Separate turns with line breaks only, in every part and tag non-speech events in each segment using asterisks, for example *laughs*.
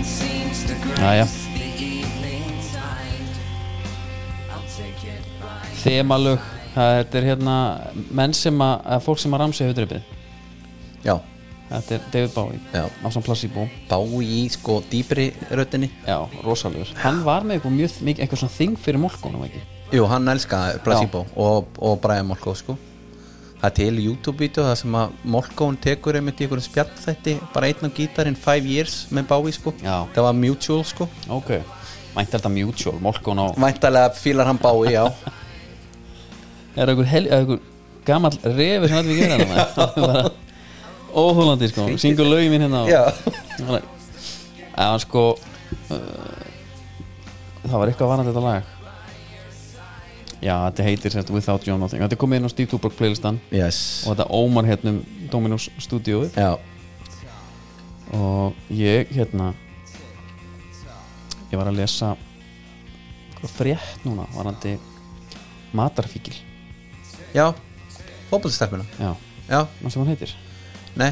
Jæja Þemalög það- Þetta er hérna menn sem að, að fólk sem að ramsi hefur dreipið
já,
Þetta er David Bowie
Já.
á samt Placebo
bá í sko dýpri röttinni
Já, rosalegur Hann var með eitthvað mjög mikið eitthvað svona þing fyrir mólkónum ekki
Jú, hann elska Placebo og, og Brian Molko sko Það er til YouTube-vídeó það sem að Molkón tekur einmitt í einhverjum spjallþætti bara einn á gítarinn Five Years með Bowie sko
Já.
Það var Mutual sko
Ok Mænti þetta mutual, mólkón á
Væntalega fílar hann Bowie, já
Er eitthvað, hel, er eitthvað gamall refi sem allir gera *laughs* þarna Óhólandi sko, syngur lögin mín hérna og-
*laughs* Já,
Þannig að hann sko uh, Það var eitthvað varandi þetta lag Já, þetta heitir sérst Without You I'm Nothing Þetta er komið inn á Steve Tupac playlistan
yes
og þetta ómar hérna um Dominos stúdíóið
Já,
og ég hérna ég var að lesa einhverja frétt núna varandi matarfíkil
já Fótbolstarpina,
Já,
já,
maður sem hann heitir
nei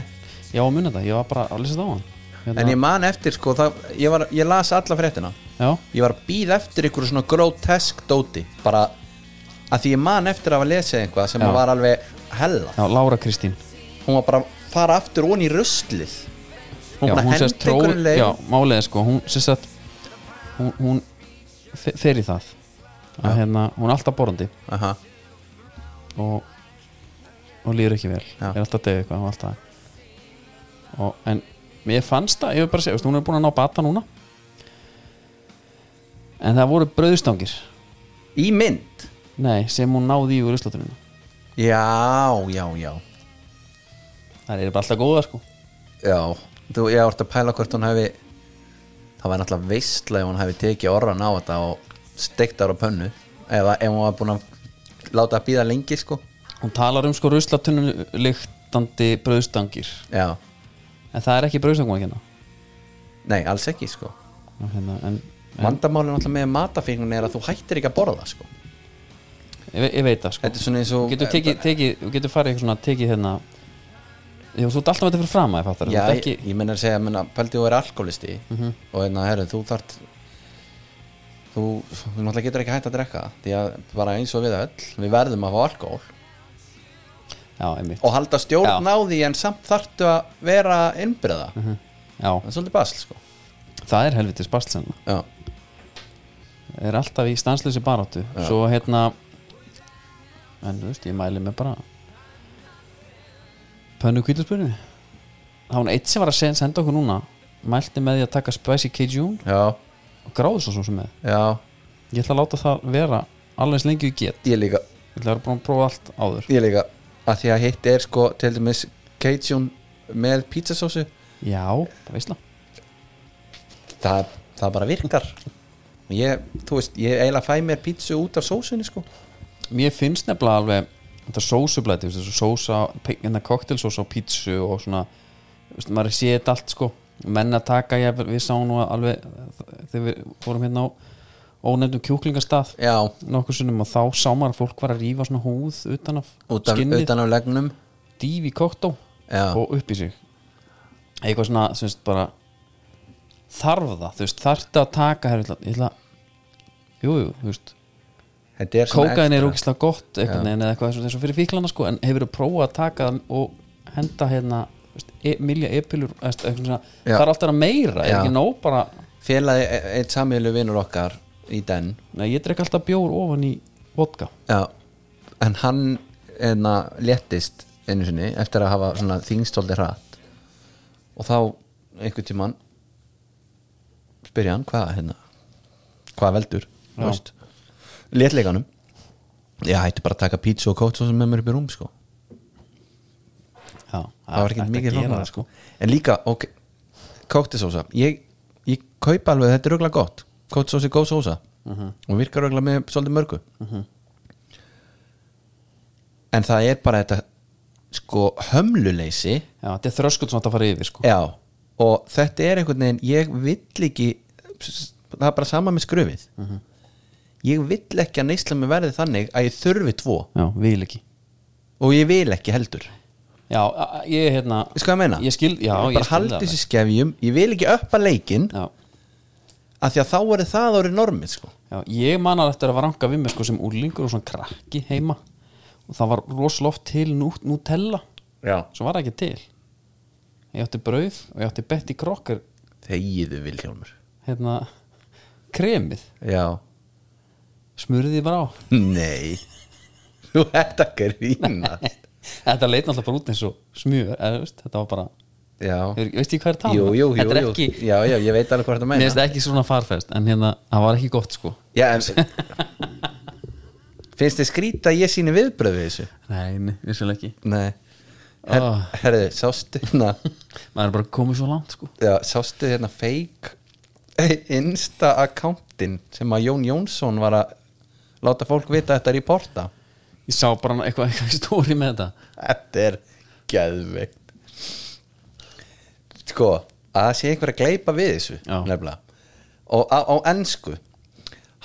Já, að muna þetta, ég var bara að lesa þetta á hann hérna,
En ég man eftir sko, það, ég, var, ég las alla fréttina
Já,
Ég var að býð eftir einhverju svona grotesk dóti bara að því ég man eftir að hafa lesið eitthvað sem
Já.
var alveg hella
já, Lára Kristín
hún var bara að fara aftur ón í ruslið hún
já,
var að
hún
henda
sérst tróð
einhverjum leið
já, málið er sko, hún sérst að hún, hún fe- fer í það að hérna, hún er alltaf borandi
Aha,
og og líður ekki vel,
Já.
er alltaf degið eitthvað og alltaf og en mér fannst það, ég vil bara segja, veist, hún er búin að ná bata núna en það voru brauðstangir
í mynd
nei, sem hún náði í úr Íslandunum
já, já, já
það er bara alltaf góða sko
já, þú, ég vart að pæla hvort hún hefi það var náttúrulega veistla ef hún hefi tekið orran á þetta og steikt ára pönnu eða ef hún var búin að láta að býða lengi sko
hún talar um sko ruslatunum lyktandi brauðstangir
já,
en það er ekki brauðstangum að kenna
nei, alls ekki sko
Og hérna, en, en
vandamálið náttúrulega með matafengun er að þú hættir ekki að borða það sko
ég, ve- ég veit það sko
þetta er svona eins og
Þú getur tekið, tekið, þú getur farið eitthvað svona tekið hérna Já, þú ert alltaf með þetta fyrir fram að ég fattar
Já,
þú ert
ég,
ekki, Mhm.
ég menna að segja, menna, pældi þú er alkoholisti og hérna, herru, þú þart þú, þú náttúrulega getur ekki hægt að drekka því að bara eins og við öll við verðum að fá alkohol
já, einmitt
og halda stjórn á því en samt þartu að vera innbyrða
Mhm.
það
Já,
er svolítið basl, sko
það er helvitis bastlsen
Já,
Er alltaf í stansleysi baráttu Svo hérna En þú veist, ég mæli mig bara Pönnu kvítaspurinu Það var nú eitt sem var að sen- senda okkur núna Mælti með því að taka Spicy Cajun
já,
Og gráðu svo sem með
já
Ég ætla að láta það vera alveg eins lengi og ég get
ég líka,
Ég ætla að vera búin að prófa allt áður
ég líka að því að hitt er, sko, til dæmis Cajun með pizzasósu
Já, það veistla
það, það bara virkar *laughs* ég, þú veist, ég eiginlega fæ mér pizzu út af sósunni, sko
mér finnst nefnilega alveg þetta sósublæti, þessu sósa hérna koktelsósa á pítsu og svona veist, maður sé þetta allt sko menn að taka, ég, við sáum nú alveg þegar við vorum hérna á ónefnum kjúklingastað
Já,
nokkur sinnum og þá sá maður að fólk var að rífa svona húð utan af
út af,
skinnið,
utan af legnum
dýfi koktó
Já.
og upp í sig eitthvað svona, þú veist, bara þarf það, þú veist, þarfti að taka hér, ég ætla, ég ætla jú, jú, þú veist
Þetta er svona
kókaðin er
extra.
ógislega gott einhvern veginn eða eitthvað eins og- eins og fyrir fíklana sko en hefur þú prófað að taka þann og henda hérna veist, e, milja e-pillur eða eitthvað svona,
Já.
það er alltaf að meira er
Já.
ekki nóg bara,
Félagi, e- einn samjölu vinnur okkar í den
nei ég drek alltaf bjór ofan í vodka,
Já En hann enna, léttist einu sinni eftir að hafa svona þingstóldi hratt og þá einhvern tímann spyrja hann hvað hérna hvað veldur þú
Já.
veist. léttleikanum ég hætti bara að taka pítsu og kótt svo sem með mér upp í rúm sko
já,
það var ekki mikið
gera
flóknara,
það sko
en líka, ok, kóktisósa ég, ég kaupa alveg, þetta er röglega gott kóktisósa er góð sósa og virkar röglega með svolítið mörgu en það er bara þetta sko hömluleysi
já, þetta er þröskut svona að fara yfir sko
já, og þetta er einhvern veginn ég vill ekki það er bara sama með skröfið ég vill ekki að neysla með verði þannig að ég þurfi tvo
já, vil ekki
og ég vil ekki heldur
já, a- a- ég hérna,
Veistu hvað ég meina?
Ég skil- já,
bara
ég skil það
haldi þessi skefjum, ég vil ekki öppa leikinn
já
af því að þá er það árið normið sko
Já, ég man að þetta er að ranka við mér sko sem úrlingur og svona krakki heima og það var rosaloft til nú, Nutella
já.
svo var það ekki til ég átti brauð og ég átti Betty Crocker
þegiðu Vilhjálmur
hérna kremið,
já,
smurðið bara á *laughs*
nei *laughs* þú ert að grínast
þetta leit náttúrulega bara út eins og smjör eða, veist, þetta var bara,
já,
hefur- veist ég hvað er talað
jú, jú, jú,
þetta er
jú.
ekki,
já, já, ég veit alveg hvað það
mér
meina
finnst það ekki svona farfest en hérna, það var ekki gott sko
já, en, finnst þið skrýta að ég síni viðbröð við þessu
nei, nei, vissulega ekki
nei Her,
Ah.
herðu, sástu hérna
maður er bara komið svo langt sko
já, sástu hérna fake insta accountin sem að Jón Jónsson var að láta fólk vita að þetta er í porta
ég sá bara eitthvað, *laughs* eitthvað stóri með þetta
þetta er geðveikt sko að það sé einhver að gleypa við þessu
Já.
nefnilega og á, á ennsku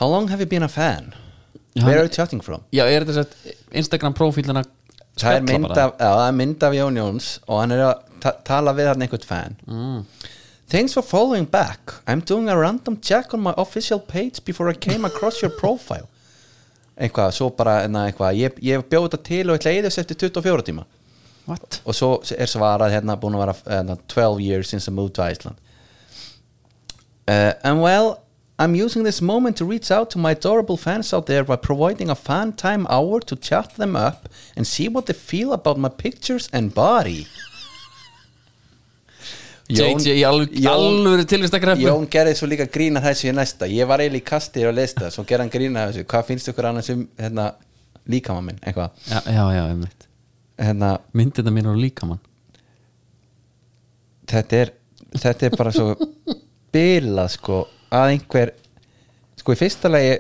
how long have you been a fan
Já,
where
hann-
are you chatting from
já, er þetta sett Instagram prófílina
það er mynd af, já, það er mynd af Jón Jóns og hann er að ta tala við hann einhvern fan mm. Thanks for following back I'm doing a random check on my official page before I came across your profile eitthvað, svo bara na, eitthvað, ég, ég bjóð þetta til og eitthvað eðis eftir 24 tíma
what?
og svo er svarað hérna búin að vera hérna, 12 years since I moved to Iceland uh, and well I'm using this moment to reach out to my adorable fans out there by providing a fan time hour to chat them up and see what they feel about my pictures and body
JJ í alveg,
Jón,
alveg tilvistakreppu
*laughs* Jón gerði svo líka grína þessu í næsta ég var eiginlega í kasti og lesta svo gerði hann grína þessu, hvað finnst ykkur annars um hérna, líkama minn, eitthvað
já, já, já, einmitt
hérna,
myndina mín eru líka mann
þetta er, þetta er bara svo bilað sko að einhver sko í fyrsta lagi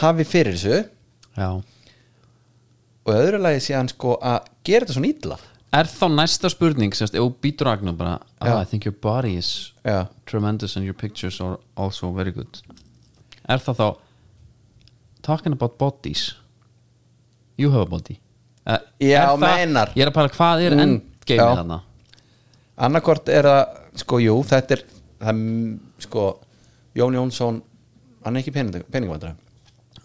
hafi fyrir þessu
já.
og í öðru lagi sé hann sko að gera þetta svona illa
er þá næsta spurning semst, ef þú býtur agnum bara
Já.
ah, I think your body is
Já.
tremendous and your pictures are also very good er það þá talking about bodies you have a body Eh,
Já,
er það-
meinar.
ég er að pæla hvað er
Mm,
mm,
já.
endgame þarna
annarkvort er það sko jú þetta er það, er, sko Jón Jónsson hann er ekki pening, peningvandra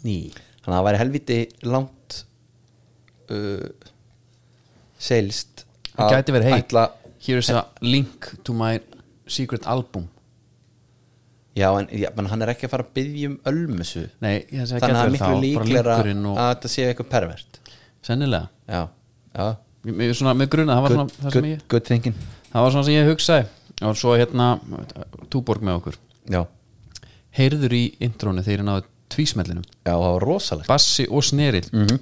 Ný.
þannig að það væri helviti langt uh, seilst
það gæti verið heit
ætla-
here is a link to my secret album
já en já, menn hann er ekki að fara að byggja um ölmusu
nei, ég segi
þannig að það
gæti
er
verið
miklu
þá bara
líklegra
linkurinn og
að þetta sé eitthvað pervert
sennilega
já, já
Mér- mér- svona, með gruna, það var
good,
svona það sem
good,
ég
good thinking
það var svona sem ég hugsaði og svo hérna, túborg með okkur
já,
heyrður í intrónu þegar ég náðu tvísmellinum
já það var rosalegt
bassi og snerill
Mhm.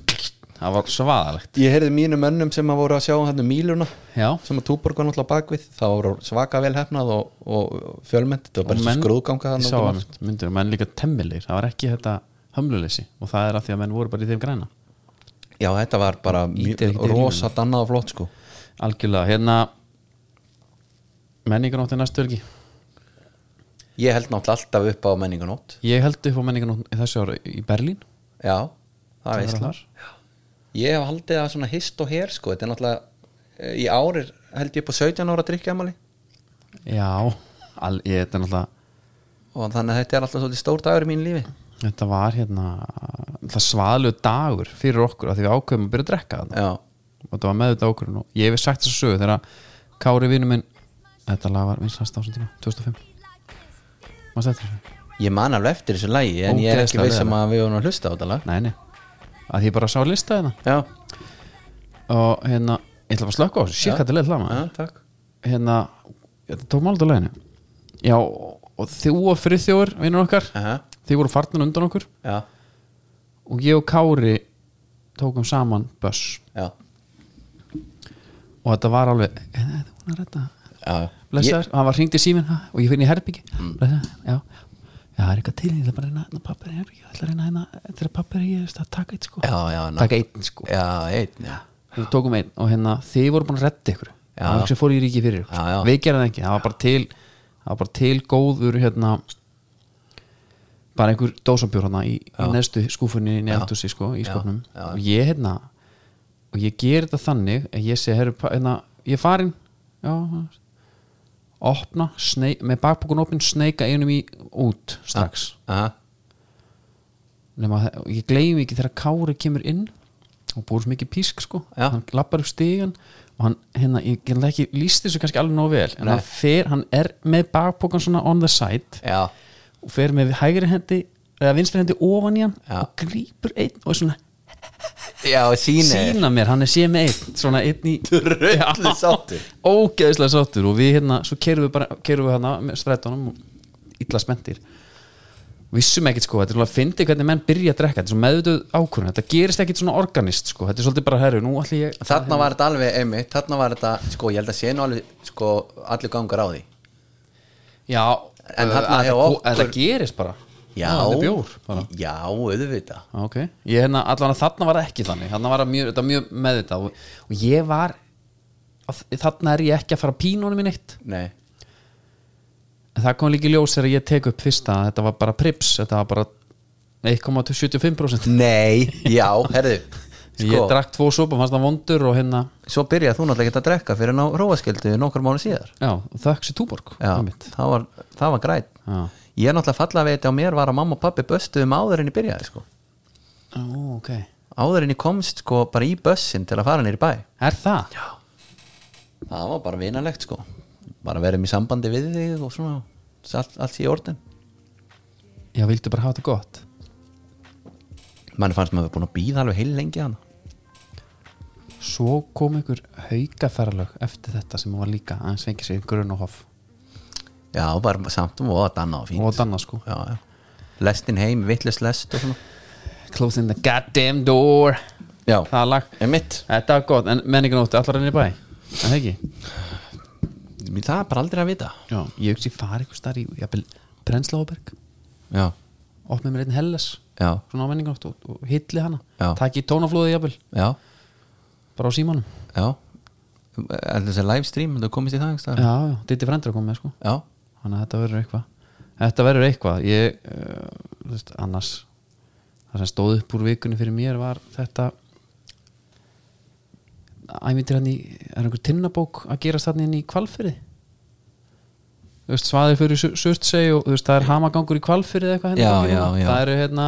það var svaðalegt
ég heyrði mínu mönnum sem að voru að sjá hann mýluna
já,
sem að túborg var náttúrulega bakvið það voru svaka vel hefnað og, og fjölmennt, þetta var bara menn, skrúðganga
ég
þarna
sá
út um
það myndir, og menn líka temmilir það var ekki þetta hömluleysi og það er að því að menn voru bara í þeim græna
allt. já, þetta var bara
Ýtir ekkert í línuna.
rosa dannað og flott sko
algjörlega, hérna menningarnótt er næstu örgi
ég held náttúrulega alltaf upp á menningunót
ég held upp á menningarnótt í þessu ára í Berlín
já, það er
er
veistla
þar.
ég hef haldið að svona hist og her sko, þetta er náttúrulega eh, í árir held ég upp á 17 ára drikkjamali
já, al, ég, þetta er náttúrulega
og þannig að þetta er alltaf svolítið stór dagur í mínu lífi
Þetta var hérna það svaðlu dagur fyrir okkur af því við ákveðum að byrja að drekka þarna
já,
og þetta var með þetta okkur og ég hef sagt þess að sögu þegar að Kári vinnu minn þetta lag var vinsast á þessum tíma 2005 Manstu eftir þessu?
ég man alveg eftir þessu lægi en ég er ekki
Ógeðslega
viss um
vel.
að við vorum að hlusta á þetta lag
Nei, nei, að því ég bara sá lista hérna
já,
og hérna, ég ætla bara að slökka á þessu
Já.
sér hvað þetta leið hlama
já, takk
hérna, þetta tók málut á leginu já, og þú og friðþjóður vinnur okkar,
Aha,
þið voru farnir undan okkur
já,
og ég og Kári tókum saman börs
já,
og þetta var alveg "Eh, nei, hún er að redda
já.
blessaður, og hann var hringt í síminn ha, og ég finn í herbyggi blessaður, já, já, það er eitthvað til ég ætla bara að reyna hérna pappir í herbyggi ég ætla að reyna hérna, þetta er pappir ég veist að taka eitt sko
já, já, ná-
taka einn sko,
já, einn já.
við tókum einn og hérna þið voru búin að redda ykkur
Já.
það var ekki sem fór í ríki fyrir ykkur,
Já, já.
við gerðum það ekki það var bara til, það var bara til góður hérna bara einhver dósabjór hérna í, í neðstu skúfunni í neðaltúsi sko, í
Já.
skófnum
Já.
og ég hérna og ég ger þetta þannig að ég segi, herru, pa- hérna, ég er farin já, opna, sneik, með bakpokun opinn sneika einum í út strax
Aha.
nema að- og ég gleymi ekki þegar Kári kemur inn og búið svo mikið písk sko
Já.
hann lappar upp stígan og hann, hérna, ég get ekki líst þessu kannski alveg nóg vel en
Nei.
hann fer, hann er með bakpokan svona on the side
Já,
og fer með hægri hendi eða vinstri hendi ofan í hann
Já.
og grýpur einn og er svona
já síni
sína mér, hann er sé með einn svona einn í
Rullu sáttur
ógeðslega sáttur og við hérna, svo kerum við bara kerum við hérna með strætónum og illa spenntir vissum ekkert sko, þetta er alveg að fyndi hvernig menn byrja að drekka, þetta er svo meðvituð ákvörðun þetta gerist ekkert svona organist sko, þetta er svolítið bara herru, nú ætlum ég
Þarna var þetta alveg einmitt Þarna var þetta, sko, ég held að sé nú alveg sko, allir gangar á því
já,
En
ö,
þarna
að
hjá
þetta ko-
okkur-
að þetta gerist bara
Já,
það er bjór bara
Já, auðvita
Já, ok, ég hérna, allan að þarna var það ekki þannig þarna var það mjög, þetta var mjög meðvitað og, og ég var að- þarna er ég ekki að fara að pína honum í neitt
Nei,
En það kom líka í ljós þegar ég tek upp fyrsta að þetta var bara prips, þetta var bara 1,75%
Nei já, herðu
Ég
Sko,
drakk tvo sopa, fannst það vondur og hérna
svo byrjaði þú náttúrulega ekki að drekka fyrir ná róaskildu nokkur mánu síðar
já, þökk sér túborg
Já,
einmitt.
það var, það var græn
Já.
Ég er náttúrulega falla að veita á mér var að mamma og pappi böstuðu um áður en ég byrjaði sko.
Ó, ok
Áður en ég komst sko bara í bössin til að fara nýr í bæ
Er það?
Já Það var bara vinalegt sko Bara verðum í sambandi við þig og svona allt, allt í orðin
Já, vildu bara hafa þetta gott
Manni fannst maður búin að býða alveg heil lengi hana
Svo kom ykkur haukaferðalög eftir þetta sem var líka aðeins fengið sér grun og hoff
Já, bara samt um og að danna og fínt
og danna sko
Já, já Lestin heim, vitlis lest og svona
Closing the goddamn door
Já,
Það lag
er mitt
Þetta var gott, en menningunóttu allar enn í bæ Er Það ekki?
Það er bara aldrei að vita
Já, ég hugsi fara ykkur starf í jafnvel, Brennslóberg
Já,
opnið mér einn helles
já,
svona á menningunótt og, og hilli hana
Já.
takk í tónaflóðið jafnvel,
já,
bara á símanum
já Er þessi livestream, þú komist í það einhvers staðar?
já, já, Ditti frendur að koma með sko
Já,
þannig að þetta verður eitthvað þetta verður eitthvað ég, uh, þú veist, annars það sem stóð upp úr vikunni fyrir mér var þetta æmyndir hann hérna í er einhver tinnabók að gerast þarna inn í kvalfyrði þú veist, svaðið fyrir surtsegi og þú veist, það er hamagangur í kvalfyrði eða eitthvað hérna
Já,
gangi núna.
já, já.
það eru hérna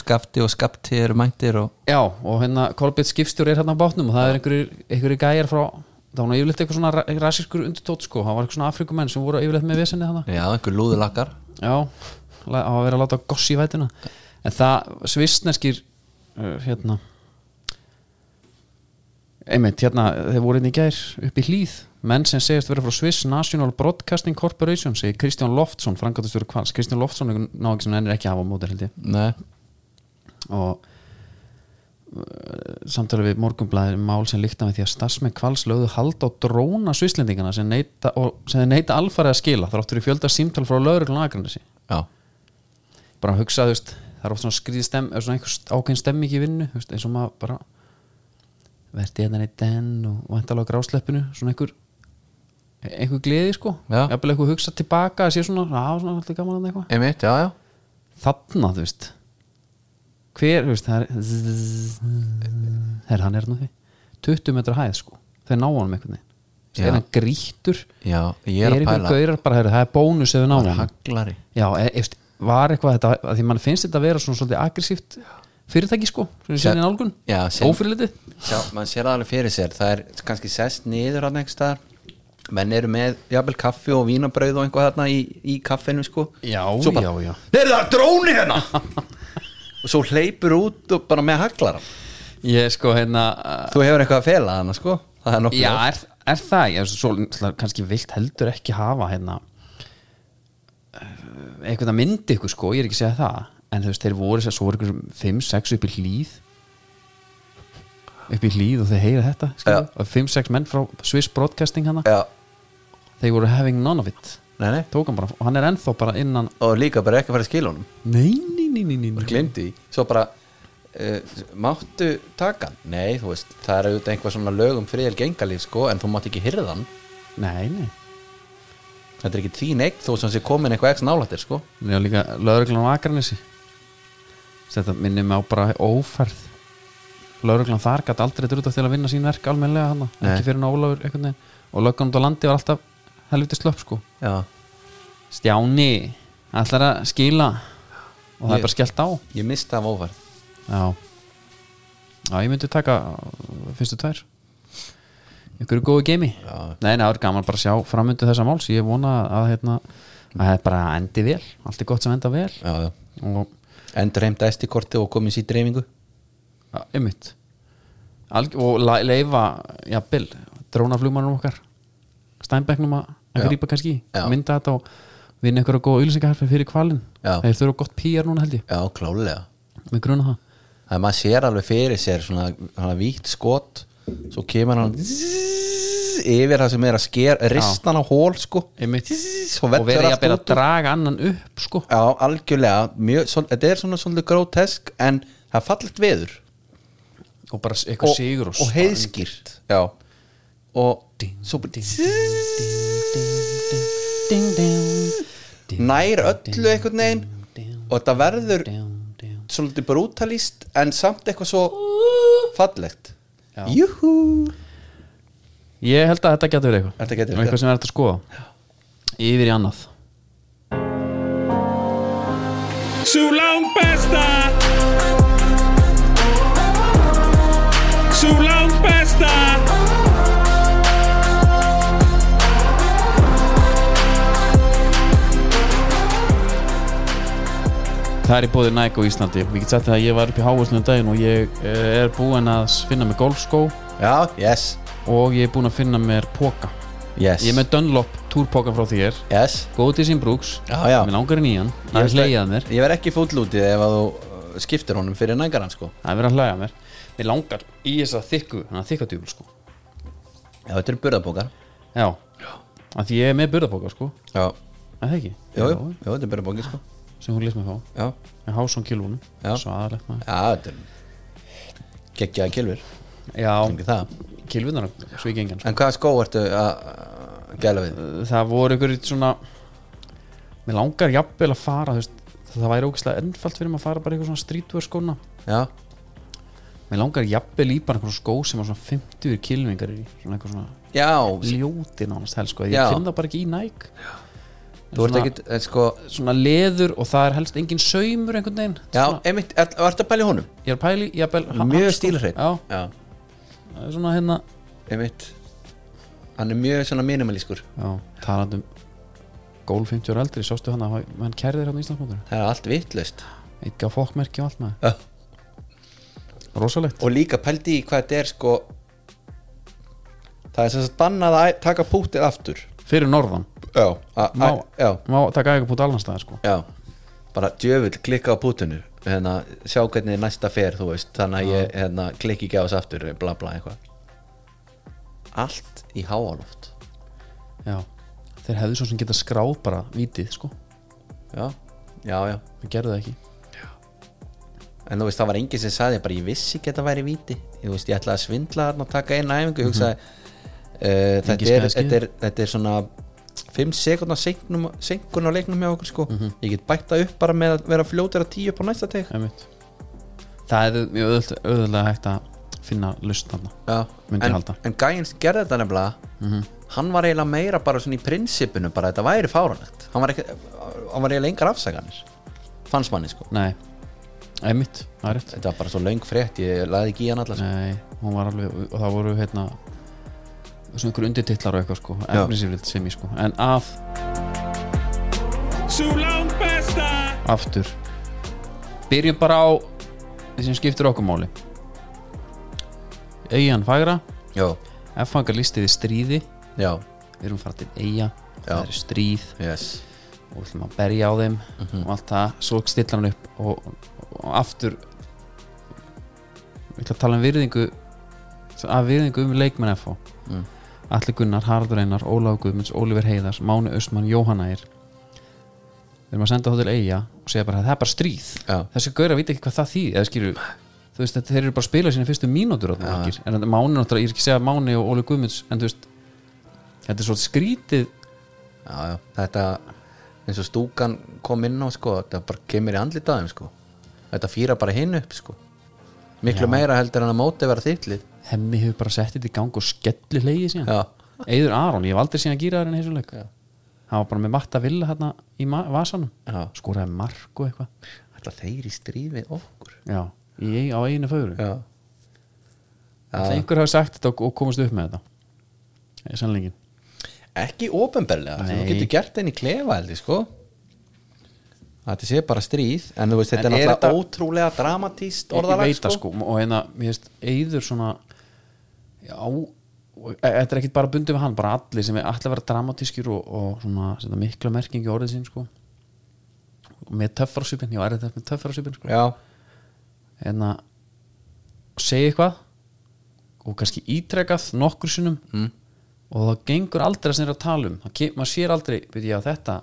skafti og skapti eru mæntir og
Já, og hérna Kolbjörn skipstjóri er hérna á bátnum og það er einhverjir, einhverjir gæjar frá það var nú yfirleitt eitthvað svona ra- rasískur undirtótt sko, það var eitthvað svona afrikumenn sem voru yfirleitt með vesennið hana
Já, einhver lúðulakkar
Já, la- á að vera að láta goss í vætuna en það svistneskir uh, hérna einmitt, hérna, þeir voru inn í gær upp í hlýð, menn sem segist vera frá Swiss National Broadcasting Corporation segir Kristján Loftsson, frangatastjóri kvals Kristján Loftsson er ná ekki sem nennir ekki að hafa móti held ég
Nei
og uh, samtalið við morgunblæðir mál sem líkta með því að starfsmenn kvals lögðu hald á dróna svislendingana sem neita, og, sem þeir neita alfarið að skila þráttur í fjölda símtal frá lögreglun aðgrænsi
Já,
bara að hugsa, þú veist, það er oft svona skrýð stem, eða svona einhver st- ákveðin stemming í vinnu þú veist, eins og maður bara verði hérna í den og vantalega grásleppinu svona einhver einhver gleði sko,
Já.
jafnvel eitthvað hugsa tilbaka að sé svona, á svona alltaf gaman að eitthvað
einmitt, já, já
þarna, þú veist hver, þú veist, það er zzz- herra, hann er nú því 20 metra hæð, sko, þau ná honum einhvern veginn,
Já.
það er hann grýttur
Já, ég er
er
að
einhver
pæla
gaurar bara, herra, það er bónus ef við ná honum
Haglari
já, e, eftir, var eitthvað þetta að því mann finnst þetta að vera svona svolítið aggressíft fyrirtæki, sko, sem við
Sem-
séum í nálgun
Já, sem-
ófyrirlitið
Já, mann sér það alveg fyrir sér Það er kannski sest niður hann einhvers staðar Menn eru með jafnvel kaffi og vínabrauð og einhvað þarna í, í kaffinu sko
Já,
Svo bara,
já, já.
Þeir það er dróni hérna Og svo hleypur út og bara með haglara
ég, sko, hérna uh,
Þú hefur eitthvað að fela hana sko Það er nokkuð
Já, er, er það, ég er svo svo- kannski vilt heldur ekki hafa hérna eh, einhvern að myndi ykkur sko, ég er ekki að segja það en þú veist, þeir voru, svo voru ykkur 5-6 upp í hlýð upp í hlýð og þeir heyra þetta skilur, og 5-6 menn frá Swiss Broadcasting hana,
Já,
þeir voru having none of it
nei, nei
tók hann bara, og hann er ennþá bara innan
Og líka bara ekki að fara að skila honum
nei, nei, nei, nei, nei,
Bara
nei.
glemdi því Svo bara Uh, máttu taka hann? Nei, þú veist, það er auðvitað einhvað svona lögum friðel gengalíf sko, en þú mátt ekki hyrða hann
nei, nei
Þetta er ekki þín eign þó sem sé komin eitthvað ekki nálættir sko
Já, líka lauruglan á Akranesi Þetta minnir mig á bara ófærð Lauruglan þar gæti aldrei drúta til að vinna sín verk almennilega hann
Nei.
ekki fyrir en Ólafur einhvern veginn og löggan út á landi var alltaf helviti slöpp sko
já,
Stjáni, ætlar að skila og það
Ég-
er bara skellt á
ég mista af óvart
Já Já, ég myndi taka uh, fyrstu tvær Ykkur er góðu geimi
Já.
Nei, nei, það er gaman bara að sjá framöndu þessa máls Ég vona að hérna að þetta bara endi vel, allt er gott sem enda vel
já, já.
og
endur heimta estikorti og komið sér dreifingu
ja, einmitt Alg og la- leifa, já, Bill drónaflugmannum okkar Steinbecknum að að
Já.
grípa kannski í,
Já.
mynda þetta og vinna ykkur að góða auðlýsingarherfi fyrir kvalin
Já.
þeir þurfa gott PR núna held ég,
já, klálega
með gruna það
það er maður sér alveg fyrir sér svona, svona víkt skot svo kemur hann zzzz, yfir það sem er að sker ristan á hól sko
Einmitt.
Zzzz,
og,
og
og verið
verður
jafnvel
allt
að
út úr.
draga annan upp sko
já, algjörlega, mjög, svol, þetta er svona svolítið grótesk en það er fallit veður
og bara s- eitthvað sigur
og heiðskýrt já og svo bara nær öllu einhvern veginn og þetta verður svolítið brútalist en samt eitthvað svo fallegt
Já.
júhú
ég held að þetta getur verið eitthvað
Þetta getur verið
eitthvað sem er hægt að skoða yfir í annað
Sú lang besta Sú lang besta
það er í bóði Nike á Íslandi ég get sagt það að ég var upp í hávæslu um daginn og ég eh, er búinn að finna mér golfskó
já, yes,
og ég er búinn að finna mér póka
yes
ég er með Dunlop túrpóka frá þér
yes
góð til sín brúks
Já, já.
mér langar í nýjan það er hlegið að mér
Ég verð ekki fúllútið ef að þú uh, skiptir honum fyrir nægaran sko
það er verið að hlæja að mér mér langar í þessa þykku þannig að þykka djúbul sko
Já, þetta eru burðabókar
Já, að því ég er með burðabóka sko
Já,
Er það ekki?
jú, jú, jú, þetta eru burðabókar sko
Sem hún lýst mér fá
Já,
Með hásum kilvunum
Já.
Svo aðalegt maður
já þetta eru geggjaða kilfur
Já,
Fengið það.
kilvunar Svo ég gengan sko.
En hvaða skó ertu að að gæla við?
Það voru ykkur svona Mér langar jafnvel að fara þú veist, Það væri ógeðslega ennfalt fyrir mig að fara bara í eitthvað svona streetwear sko, skóna
Já,
Mér langar jafnvel í bara einhverjum skó sem var svona 50 kilvingar í Svona eitthvað svona
já
ljóti nánast helst sko Ég
Já.
finn það bara ekki í næk
Þú ert ekkit, eh, sko
Svona leður og það er helst engin saumur einhvern veginn
Já,
svona,
einmitt, er, ertu að pæla í honum?
Ég er að pæli, jafnvel
Mjög stílhreinn
Já,
já,
það er svona hérna
einmitt Hann er mjög svona minimalískur
Já, talandi um Gól 50 og eldri, sástu hann að hann hérna kærðir hann í Íslandsmótur
Það er allt vitlaust
Eitthvað fokkmerki og allt með
Já.
Rosalegt
og líka pældi í hvað þetta er sko það er sem sagt bannað að æ- taka pútið aftur
Fyrir norðan
já, a, a,
Má,
já,
má taka eitthvað búið allan staðar sko
já bara djöfull klikka á pútinu hérna, sjá hvernig næsta fer þú veist þannig að ég hérna, klikki ekki á þess aftur bla bla eitthvað allt í háaloft
Já, þeir hefðu svo sem geta skráð bara vitið sko
já, já, já
Það gerðu það ekki
en þú veist það var enginn sem sagði bara ég vissi ekki að þetta væri víti ég, veist, ég ætlaði að svindla þarna og taka einn æfingu ég hugsaði uh, þetta, er,
smæðaskil.
þetta, er, þetta er svona 5 sekundar senkun á leiknum hjá okkur sko ég get bætt það upp bara með að vera fljótur að tíu upp á næsta teg
Einmitt. Það hefðu mjög auðvöld, auðvöldlega hægt að finna lust þarna Myndi
en,
halda.
en gæinn sem gerði þetta nefnilega hann var eiginlega meira bara svona í prinsipinu bara að þetta væri fáranlegt hann var, ekki, hann var eiginlega engar afsaganir fannst manni sko
Nei, einmitt, það er rétt
þetta var bara svo löng frétt ég laði ekki í hann allar sko.
Nei, hún var alveg og það voru hérna svona ykkur undirtitlar og eitthvað sko
Já.
efnisifrilt sem ég sko en af
Sú lang besta
aftur byrjum bara á því sem skiptir okkur máli Eyjan fagra
já,
F-fangar listið í stríði
já,
við erum farað til Eyja
Já.
það er stríð
yes
og við ætlum að berja á þeim
Mhm.
og allt það, svo stillar hann upp og, og aftur við ætlum að tala um virðingu að virðingu um leikmenn F
Mm.
Alli Gunnar, Haraldur Einar, Ólaf Guðmunds Ólífer Heiðars, Máni Östmann, Jóhannair við erum að senda þá til Eyja og segja bara að það er bara stríð
já,
þessi gauðra vita ekki hvað það þýð eða skilur, þú veist, þetta, þeir eru bara að spila sína fyrstu mínútur á
Já.
það en þetta Máni náttúrulega, ég er ekki að segja Máni og Óli Guðmunds en þú veist, þetta er svolítið skrítið
já, já, þetta eins og stúkan kom inn á sko, þetta bara kemur í andlit aðeim sko. þetta fýra bara hinn upp sko. miklu meira heldur en að móti vera þittlið
hemmi hefur bara sett þetta í gang og skellir leiði síðan
já,
Eður Aron, ég hef aldrei síðan gýraður en þessu leik
Já.
hann var bara með matta villa hérna í ma- vasanum
Já.
skoraði mark og eitthvað
Alltaf þeir í stríð við okkur
já, í, á einu fögru
Já,
Ætli einhver hafi sagt þetta og, og komast upp með þetta ég sannleikinn
Ekki ópenbarlega, þú
Nei.
getur gert einn í klefa heldur sko Þetta sé bara stríð En þú veist, þetta
En
er
er
náttúrulega
þetta-
ótrúlega dramatíst
ég
orðalag
veit það sko og hérna, mér finnst Eður svona já og- e- þetta er ekkit bara bundið við hann, bara allir sem er allir að vera dramatískir og, og svona setja mikla merkingi orðið sín sko og með töffarasupin, já er þetta með töffarasupin sko
Já,
en að hérna, segja eitthvað og kannski ítrekað nokkur sinnum mm. og það gengur aldrei að sinna að tala um Það kem, maður sér aldrei, veit ég að þetta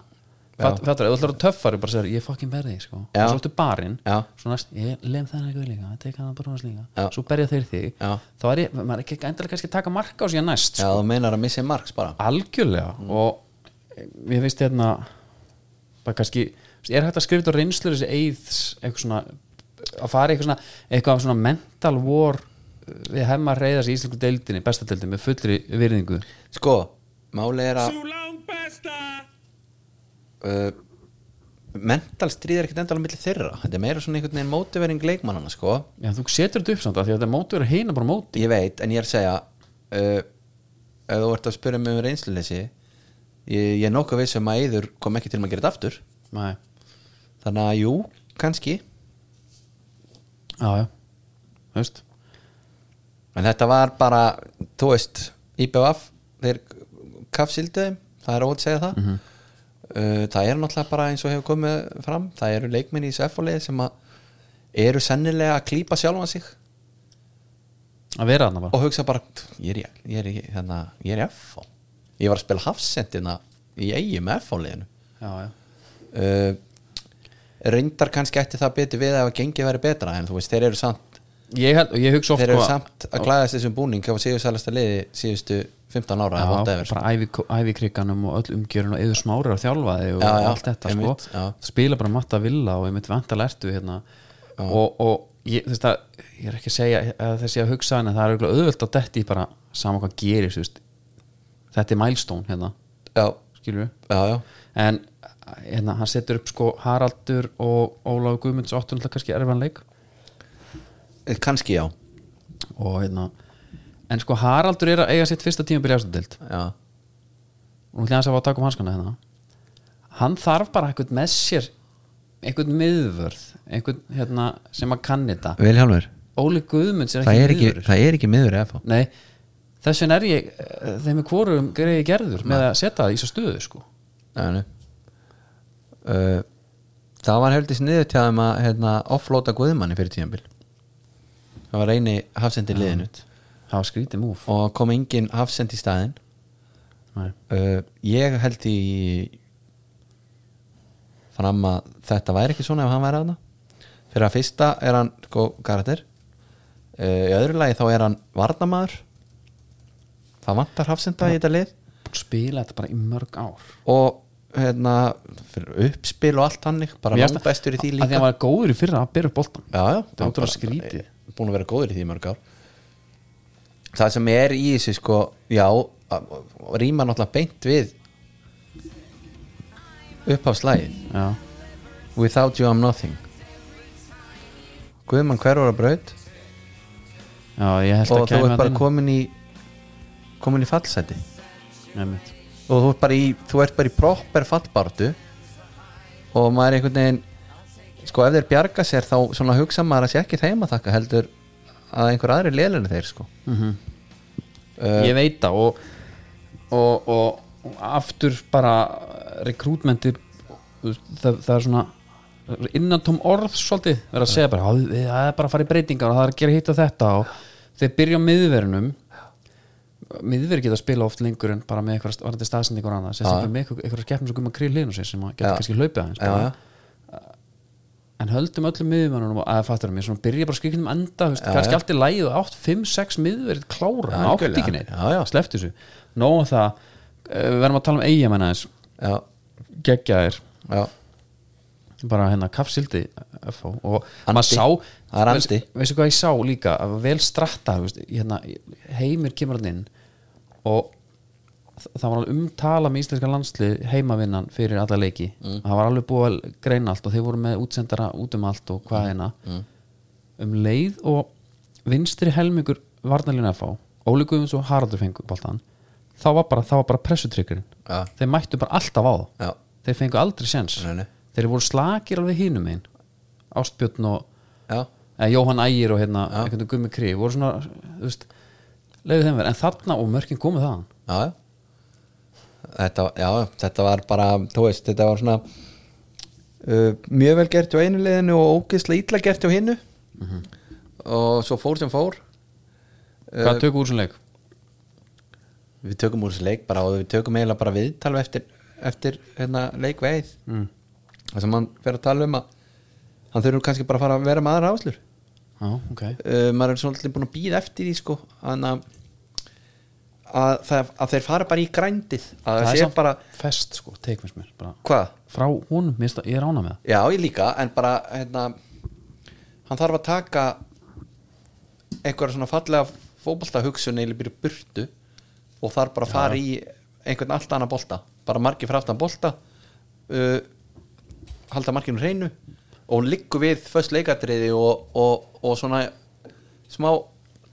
Fatt- fattar, ef þú ætlar að töffari bara segir ég fucking berði þig, sko,
Já.
og svo ertu barinn
Já.
svo næst, ég lem þennan eitthvað líka ég tek hann að brúnast líka,
Já.
svo berja þeir þig
Já.
þá er ég, maður er ekki endalega kannski að taka marka á síðan næst,
já, þú meinar að missa marks bara
algjörlega og mér finnst hérna bara kannski, er hægt að skrifa þetta á reynslur þessi eiðs, eitthvað svona að fara í eitthvað svona, eitthvað svona mental war uh, við hefum að reyðast í íslensku deildinni, besta deildinni með fullri virðingu
Sko, máli er að
Sulão Pesta!
uh, mental stríð er ekkert endala milli þeirra Þetta er meira svona einhvern veginn mótivering leikmannana sko
já, þú setur þetta upp samt að því að þetta móti verið heina bara á móti
Ég veit, en ég er að segja uh, ef þú ert að spyrja mig um reynsluleysi ég, ég er nokkuð veist sem að yður kom ekki til um að gera þetta aftur
Nei.
þannig að jú, kannski
já, já, veist
en þetta var bara, þú veist IBF, þeir kafsilduðum, það er ótt að segja það uh, það er náttúrulega bara eins og hefur komið fram, það eru leikmenn í SF-fólið sem að eru sennilega að klípa sjálfan sig
að vera þarna bara,
og hugsa bara ég er í, ég er í, hérna, ég er í F ég var að spila hafsendina í eigi með F-fóliðinu
já, já,
uh, reyndar kannski ætti það betur við ef að gengið verið betra en þú veist, þeir eru samt
ég, held, og ég hugsa oft
þeir eru
sko að-
samt að klæðast þessum búning á síðu sælasta liði síðustu 15 ára eða
Já,
whatever, sko.
bara ævi, ævikrikanum og öll umgjörun og eður smárir að þjálfa þig og
Já, já,
allt þetta
einmitt,
sko.
já.
spila bara matta villa og ég myndi vant að lertu hérna og, og ég, þess að, ég er ekki að segja að þessi að hugsa en það er örugglega auðvelt að detti bara saman hvað gerist þú veist. þetta er milestone hérna
já,
skilur við
já, já,
en hérna, hann setur upp sko Haraldur og Ólaug Guðmunds áttu náttúrulega kannski erfan leik
Eh, kannski já
og hérna en sko Haraldur er að eiga sitt fyrsta tíma byrja ástundeld
já,
og hún hljóðast að fá að taka um hanskana hérna hann þarf bara eitthvað með sér eitthvað miðvörð eitthvað hérna, sem að kann þetta
Vilhjálfur,
Óli Guðmunds er ekki, miðvörður.
það er ekki miður eða
Nei, þess vegna er ég eh, þeim er hvorum greiði gerður með að setja það í svo stöðu sko
Nei, nei. Uh, það var heldur sniður til þeim að hérna, offlóta guðmanni fyrir tíðanbíl það var reyni hafsendi liðinu
það var skrítið múf
og kom engin hafsendi í staðinn
Nei.
uh, ég held í fram að þetta væri ekki svona ef hann væri aðna fyrir að fyrsta er hann sko karakter uh, í öðru lagi þá er hann varnamaður það vantar hafsenda í þetta lið
spila þetta bara í mörg ár
og hérna fyrir uppspil og allt hannig bara
Mér finnst að-
langbestur í því
að því
líka
hann var góður í fyrra að byrja upp boltan
já, já,
Það var
bara-
bara skrítið.
búin að vera góður í því í mörg ár það sem er í þessu sko já, að- og rýma náttúrulega beint við uppháfslægið
já,
Without you I'm nothing Guðmann hver voru að braut
já, ég held að
og þú
kæmi
ert bara
að
komin í komin í fallseti
inn Einmitt.
og þú ert bara í, þú ert bara í proper fallbartu og maður er einhvern veginn sko ef þeir bjarga sér þá svona hugsa maður að sé ekki þeim að þakka heldur að einhver aðri lélunni þeir sko Eh,
ég veit það og, og, og, og aftur bara rekrútmenti það, það er svona innantóm orð svolítið verið að segja bara, "Já, við- það er bara að fara í breytingar og það er að gera hitt og þetta og þeir byrja á miðverunum miðverið geta að spila oft lengur en bara með eitthvað varandi staðsendingur annað sérstaklega með eitthvað, eitthvað skeppnum sem gumma krill hinn og sér sem að geta
Já.
kannski hlaupið aðeins
já,
bara.
já,
en höldum öllum miðverunum að fattur mér svona byrja bara skriknum enda þú veist,
Já,
kannski
já.
allt í lægið og átt 5-6 miðverið klára
Já,
hann átt
algjörlega.
ekki neitt
Já, já.
sleppt þessu nóg um það, eh, við verðum að tala um eigum en aðeins,
já,
geggjaðir
já.
bara hérna kaffsildi FH og
Andi.
maður sá,
Það er andi.
veist- veistu hvað ég sá líka að vel stratta, þú veist, hérna, heimir kemur hann inn og það var alveg umtala með íslenska landslið heimavinnan fyrir alla leiki
Mm.
það var alveg búið að greina allt og þeir voru með útsendara út um allt og
Mm.
hvað hérna um leið og vinstri helmingur varnalina að fá Óli Guðmunds og Haraldur fengu boltan þá var bara, það var bara pressutryggurinn
Já.
þeir mættu bara alltaf á það
Já.
þeir fengu aldrei sjens
Nei, nei.
þeir voru slakir alveg hinum einn Ástbjörn og
já,
eða, Jóhann Ægir og hérna einhvern veginn Gummi Krí voru svona, þú veist leiðu þeim verið, en þarna og mörkin komið þaðan
já, já. Þetta, já, þetta var bara þú veist, þetta var svona uh, mjög vel gert hjá einu liðinu og ógeðslega illa gert hjá hinnu og svo fór sem fór Eh, Uh,
hvað tökum úr sem leik?
við tökum úr þessu leik bara og við tökum eiginlega bara viðtal eftir, eftir hérna, leikveið mm. það sem hann fer að tala um að hann þurfur kannski bara að fara að vera með aðra áslur
Já, ok
uh, maður er svolítið búin að býða eftir því sko hann að að, það, að þeir fara bara í grændið að það,
það er
sé
samt
bara,
fest sko, teikmins mér bara.
hvað?
frá hún, mista, ég er ána með það
Já, ég líka, en bara hérna, hann þarf að taka einhverja svona fallega fótbolta hugsun eða byrja burtu og þarf bara að fara í einhvern allt annan bolta bara margir frá aftan bolta uh, halda margirnum hreinu og hún liggur við föst leikatriði og, og, og svona smá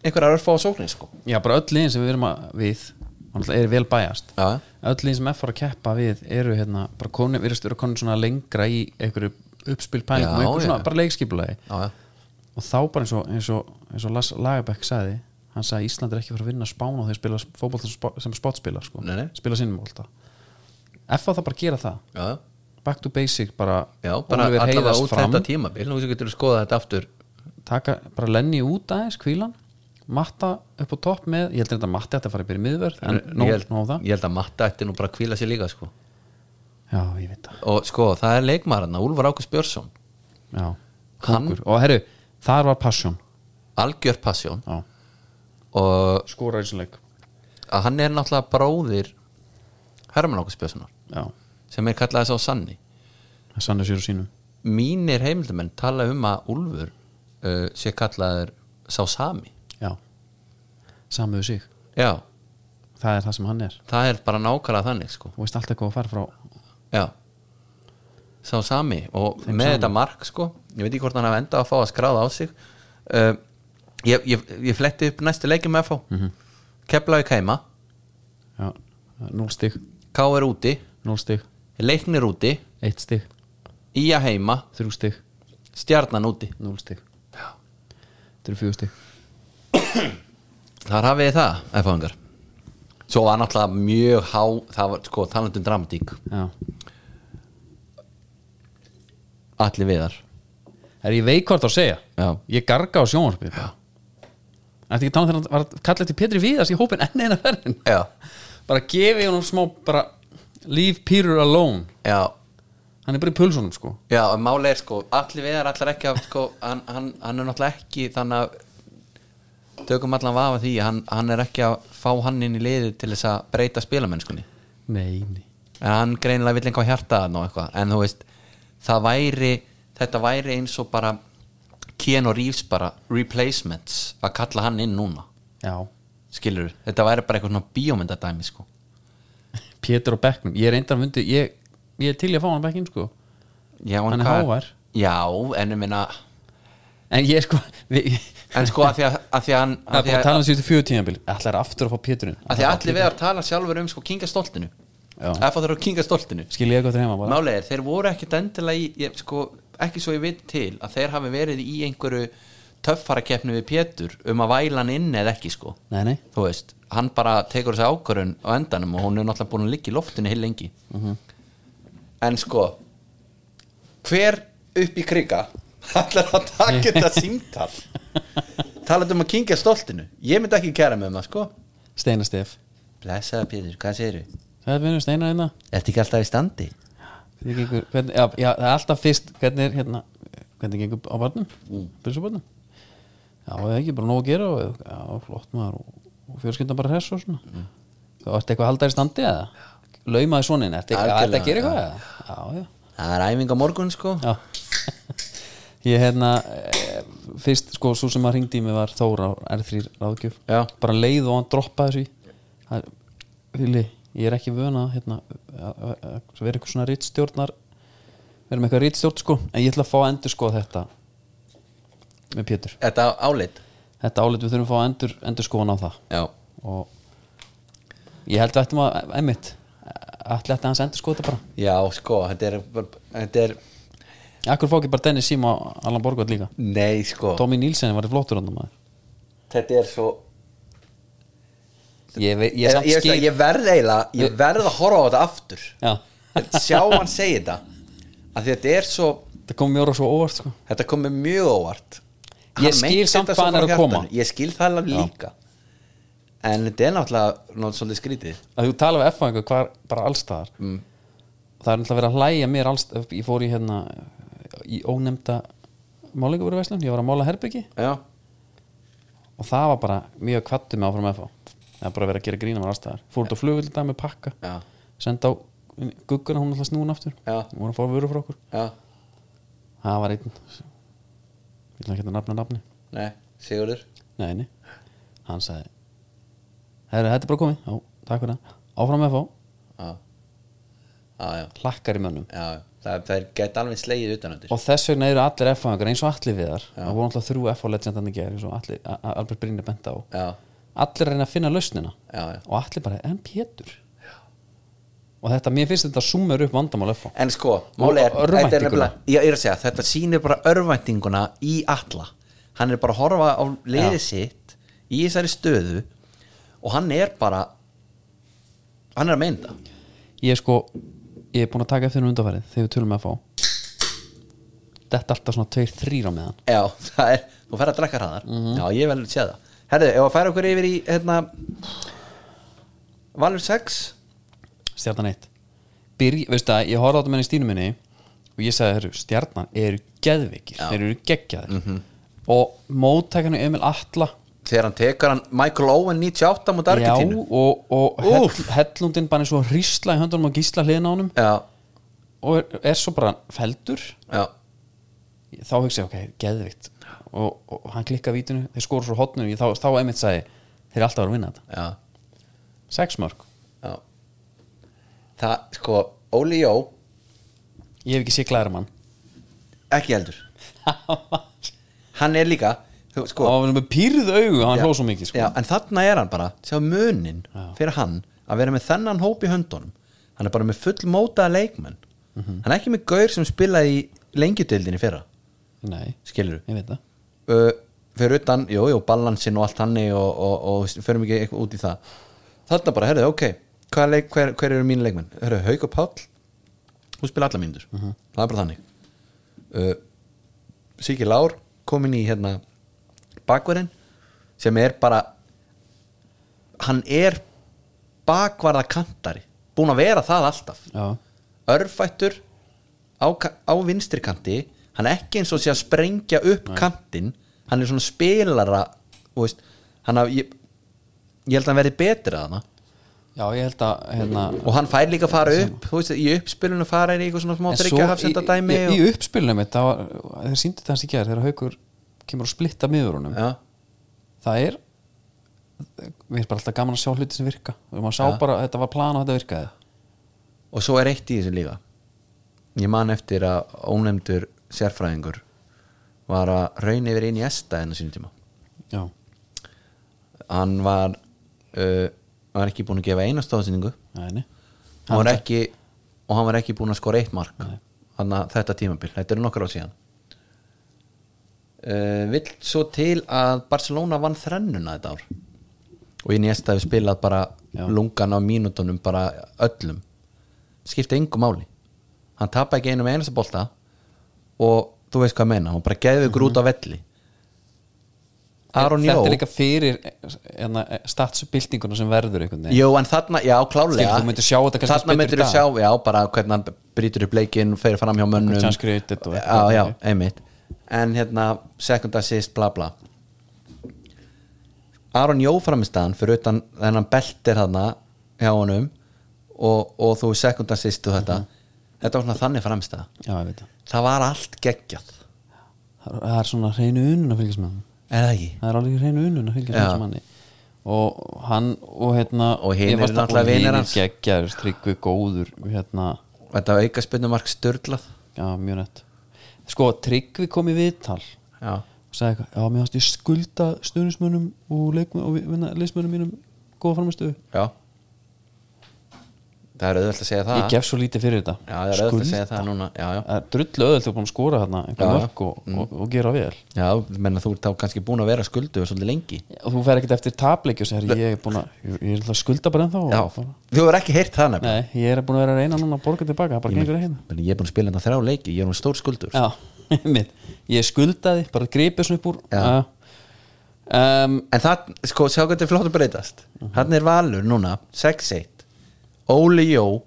einhverja örfá á sóknir sko
já, bara öll liðin sem við erum að við hann alltaf er vel bæjast
Já.
öll liðin sem F var að keppa við eru hérna bara koni, við erum konin svona lengra í einhverju uppspil pælingum
Já,
og einhverju svona,
já.
bara leikskipulagi
Já, já,
og þá bara eins og, eins og, eins og Lars Lagerbæk sagði hann sagði að Ísland er ekki fyrir að vinna spána og þeir spila fótbolta sem spá- sem spotspila sko.
Nei, nei.
spila sínum bólta F var það bara að gera það
já,
back to basic bara,
já bara
Oliver
allavega
Heiðars
út þetta tímabil nú getur þú skoðað þetta aftur
taka, bara lenni út aðeins kvílan matta upp á topp með ég held að matti ætti að fara yfir í miðvörð en nóg,
ég, held,
nóg það
ég held að matta eftir nú bara að kvíla sér líka sko
já, ég veit það
og sko, það er leikmarana, Úlfur Ákus Björnsson
já,
Hann-
kókur. og herru, þar var passion
algjör passjón
já.
og
skóra eins og leik
að hann er náttúrulega bróðir Herman Ákus Björnssonar
já,
sem er kallaði sá Sanni
það sannir sér og sínum
mínir heimildumenn tala um að Úlfur uh, sé kallaður sá Sami
já, samuðu sig
já,
það er það sem hann er
það er bara nákvæmlega þannig sko
og veist alltaf hvað að fara frá
já sá Sami og með þetta mark sko ég veit ekki hvort hann hafa endað að fá að skráða á sig uh, ég, ég, ég fletti upp næstu leikin með að fá mm -hmm. Keflavík heima,
já, 0 stig,
K er úti
0 stig,
Leiknir úti,
1 stig
Ía heima
3 stig,
Stjarnan úti
0 stig já, þetta eru 4 stig
Þar hafið þið það, efaðingar Svo var náttúrulega mjög há Það var sko talandum dramatík
já,
Allir viðar
Er ég veik hvort að segja?
Já.
Ég garga á sjónvarpið Þetta ekki tánum þegar hann var að kalla eftir Petri Víðars í hópin enn eina ferðin
Já,
Bara gefi honum smá bara Leave Peter alone
já,
Hann er bara í pulsunum sko
já en Máli er sko Allir viðar allar ekki að sko, hann, hann, hann er náttúrulega ekki þannig að Tökum allan vafa því hann, hann er ekki að fá hann inn í liðið Til þess að breyta spilamennskunni
Nei, nei
En hann greinilega vill einhvað hjarta þarna og eitthvað En þú veist, það væri Þetta væri eins og bara Keanu Reeves bara Replacements að kalla hann inn núna
Já,
skilur, þetta væri bara eitthvað svona bíómyndadæmi sko.
Pétur og Becknum Ég er eindan vundi ég, ég er til í að fá hann Beckinn sko
já, en
Hann er
hvað-
hávær.
já, en ég minna
En ég sko *laughs* við,
en sko að því að, að, því að, hann-
Það er
að, því
bara að
að,
tala um síðustu fjögur tíðanbíl Ætlar aftur að fá Péturinn
að því að allir vegar tala sjálfur um sko kinga stoltinu
Já.
að fá þeirra að kinga stoltinu
Skil ég eitthvað heima bara
málið er, þeir voru ekkit endilega í, ég, sko, ekki svo ég veit til að þeir hafi verið í einhverju töffarakeppni við Pétur um að væla hann inn eða ekki sko,
Nei, nei
þú veist hann bara tekur þessi ákvörun á endanum og hún er náttúrulega búin að liggja í loftinu heil lengi
Mhm.
en sko hver upp í kriga ætlar að taka
*laughs*
þetta símtal talandi um að kingja stoltinu ég myndi ekki kæra með maður sko
Steinar Stef
blessaða Pétur, hvað segirðu?
Sæði vinur Steinar einna
Ertu ekki alltaf í standi?
Hvernig gengur, hvernig, já, já, það er alltaf fyrst hvernig er hérna hvernig gengur á barnum, mm. byrjusabarnum já, það er ekki bara nóg að gera og, já, flott maður og, og fjölskyldan bara hress og svona mm. þá ertu eitthvað að halda þér í standi eða laumaði svonin, ertu eitthvað ertu að
Algjörlega,
gera eitthvað eða já, já,
það er æfing á morgun sko
já ég hérna eh, fyrst, sko, svo sem maður hringdi í mig var Þóra R3 ráðgjöf,
Já.
bara leið og hann droppaði þessu í. Það er- Vili, ég er ekki vöna hérna, að að- að- að vera eitthvað svona rittstjórnar vera með eitthvað rittstjórn sko en ég ætla að fá að endur skoða þetta með Pétur
Þetta álit
þetta álit við þurfum að fá að endur, endur skoðan á það
Já,
og ég held að ættum að einmitt, ætla að hans endur skoða þetta bara
já sko, þetta er, bara- þetta er
Akkur fá ekki bara Dennis Sim og Allan Borgvall líka
Nei sko,
Tommy Nílsen var í flottur hann maður
þetta er svo
Ég, ve- ég,
Ég,
samt
ég,
skil-
ég, ég verð eiginlega, ég verð að horfa á þetta aftur
Já,
Sjá hann segja þetta að því Þetta er svo,
það kom mjög orða svo óvart sko
þetta kom mér mjög óvart
Ég
Hann
skil
meinti
samt
þetta svo
hvað hann er
frá
að koma.
hjartanu. Ég skil það alveg líka En þetta er náttúrulega náttúrulega svolítið skrítið
að þú tala við F-fæðingu hvar bara allstaðar mm. það er náttúrulega verið að hlæja mér allstaðar ég fór í hérna í ónefnda málingurverðverslun ég var að mála herbyggi
Já,
og það var bara mjög kvattu með áfram F-fá það er bara verið að gera grína mér allstaðar fór út á flugvill í dag með pakka
já,
senda á gugguna hún alltaf snúin aftur
Já.
hún var að fóra vöru frá okkur
já
það var einn ég vil ekki að nafna nafni
Nei, Sigurður
Nei, nei Hann sagði Herru, þetta er bara komið Já, takk fyrir það Áfram með fá
Já, já, já,
Hlakkar í mönnum
já. Það, það er gett alveg slegið utanöndir
Og þess vegna eru allir F-fangar eins og allir viðar Það voru alltaf þrjú F-legend hann að gera eins og allir, A- A- Albert Brynni bent á
Já,
Allir að reyna að finna lausnina
já, já
Og allir bara, en Pétur Og þetta, mér finnst þetta summur upp vandamál F-fá
En sko, máli er,
Og
þetta er
örvæntinguna.
nefnilega Ég er að segja, þetta sýnir bara örvæntinguna í alla Hann er bara að horfa á leiði sitt Í þessari stöðu Og hann er bara Hann er að meina það.
Ég er sko, ég er búin að taka eftir um undarfærið Þegar við tölum með F-fá Þetta alltaf svona tveir þrýr á meðan
Já, *laughs* það er, þú fer að drekka hraðar
Mhm.
Já, ég vel sé það Herðu, ef að færa okkur yfir í hérna, Valur 6
stjarnan 1 Byrj, veistu að ég horfði á þetta með henni í stínu minni og ég sagði, herru, stjarnan eru geðvikir, þeir eru geggjaðir
Mhm.
og móttækanu Emil Atla
Þegar hann tekar hann Michael Owen 98 múti
já,
Argentínu
og, og
Úff.
hell, hellundin bara er svo hrísla í höndunum og gísla hliðin á honum
Já,
og er, er svo bara feldur
já,
þá hugsa ég, ok, geðvikt og, og, og hann klikka vítinu, þeir skora svo hotnum þá, þá Emil sagði, þeir eru alltaf að vera að vinna þetta
já,
sex mörg,
já Það, sko, Óli Jó
ég hef ekki sé glæra
*laughs*
mann
Ekki heldur Sko. Hann er líka þú, sko,
og hann var með pýrð augu, hann
Já.
hló svo mikið sko.
já, En þarna er hann bara, sjá munin Fyrir hann að vera með þennan hóp í höndunum Hann er bara með full mótaða leikmenn
Mhm.
Hann er ekki með gaur sem spilaði í lengjudildinni fyrra
nei,
Skilur
ég veit það
uh, fyrir utan, jú, jú, balansin og allt hannig og, og, og, og förum ekki eitthvað út í það þarna bara, herðu, ok hver, leik, hver, hver eru mínu leikmenn? Herðu, Hauk og Páll hún spila alla mínútur það er bara þannig uh, Siki Lár komin í hérna bakverðin sem er bara hann er bakvarða kantari búin að vera það alltaf
já,
örfættur á, ka- á vinstri kanti hann er ekki eins og sé að sprengja upp kantinn, hann er svona spilara þú veist, hann að ég, ég held að hann verði betri að hana
Já, ég held að hérna,
og hann fær líka að fara upp þú veist, í uppspilunum fara hann í eitthvað svona smá
en
þryggja
í,
hafsenda
í,
dæmi
í
og,
uppspilunum mitt það var, þeir sýndu þess í gerð þegar haukur kemur að splitta miður honum
já,
það er við erum bara alltaf gaman að sjá hluti sem virka og maður sá bara að þetta var plan og þetta virkaði
og svo er eitt í þessu líka ég man eftir að ónefndur sérfræðingur var að raun yfir inn í esta enn á sínum tíma
Já,
hann var uh, hann var ekki búin að gefa einastóðsynningu
næni
hann var ekki og hann var ekki búinn að skora eitt mark þannig að þetta tímabil, þetta eru nokkar á síðan uh, vill svo til að Barcelona vann þrennuna þetta ár og ég nýjast að við spilað bara
Já.
lungan á mínútonum bara öllum skipti yngu máli hann tapa ekki einum einasta bolta og þú veist hvað ég meina, hann bara geði ykkur út á velli Aron Jó
Mhm. Þetta er líka fyrir hérna, statsbyltinguna sem verður einhvern veginn
Jú, en þarna, já, klálega
Skilur, þú myndir sjá þetta kannski
Þarna
betur í
myndir þú
dag.
sjá, já, bara hvernig hann brýtur upp leikinn Fyrir fram hjá mönnum
Hvernig hann skrifar þetta og
Já,
eitthvað.
já, einmitt En hérna, second assist, bla bla Aron Jó framistaðan Fyrir utan þennan beltir þarna Hjá honum Og, og þú second assist og þetta
Mhm.
Þetta var svona þannig framistaða
Já, ég veit það
Það var allt geggjað
Það er- Það er svona hreinu unun að fylgjast með hann
Er það ekki?
Það er alveg hreinu unun að fylgjast
Já.
með þessu manni og hann og hérna
Og hinir
ég varst
eru
að-
náttúrulega
og
vinir
hinir
hans.
geggjaður, tryggvi góður hérna,
Þetta auka spynnumark störlað
já, mjög nett sko, tryggvi kom í viðtal
Já,
og sagði eitthvað, já, mér hans ég skulda stuðnismönum og, leikmönnum- og leismönum mínum góða framistu
já Það er auðvelt að segja það
ég gef svo lítið fyrir þetta
Já, það er auðvelt að segja það núna Já, já,
það er drullu öðvöld þú er búin að skora hérna einhver
Já, já.
mörg og, og, og gera vel
já ég menna þú ert þá kannski búin að vera skuldu svolítið lengi
og þú fer ekkert eftir tapleikju og segir ég er búin að, ég ég er alltaf að skulda bara ennþá og-
Þú hefur ekki heyrt það nefnilega
nei, ég er búin að vera að reyna núna að borga tilbaka það bara gengur ekki hérna
Menna, Ég er búin að spila þetta þrjá leiki, ég er nú stór skuldur
já, *laughs* mitt, ég skuldaði bara gripið svona upp úr
Já.
uh, um,
En það, sko, sjá hvað þetta er flott að breytast Hann er valur núna, 6-1 Óli Jó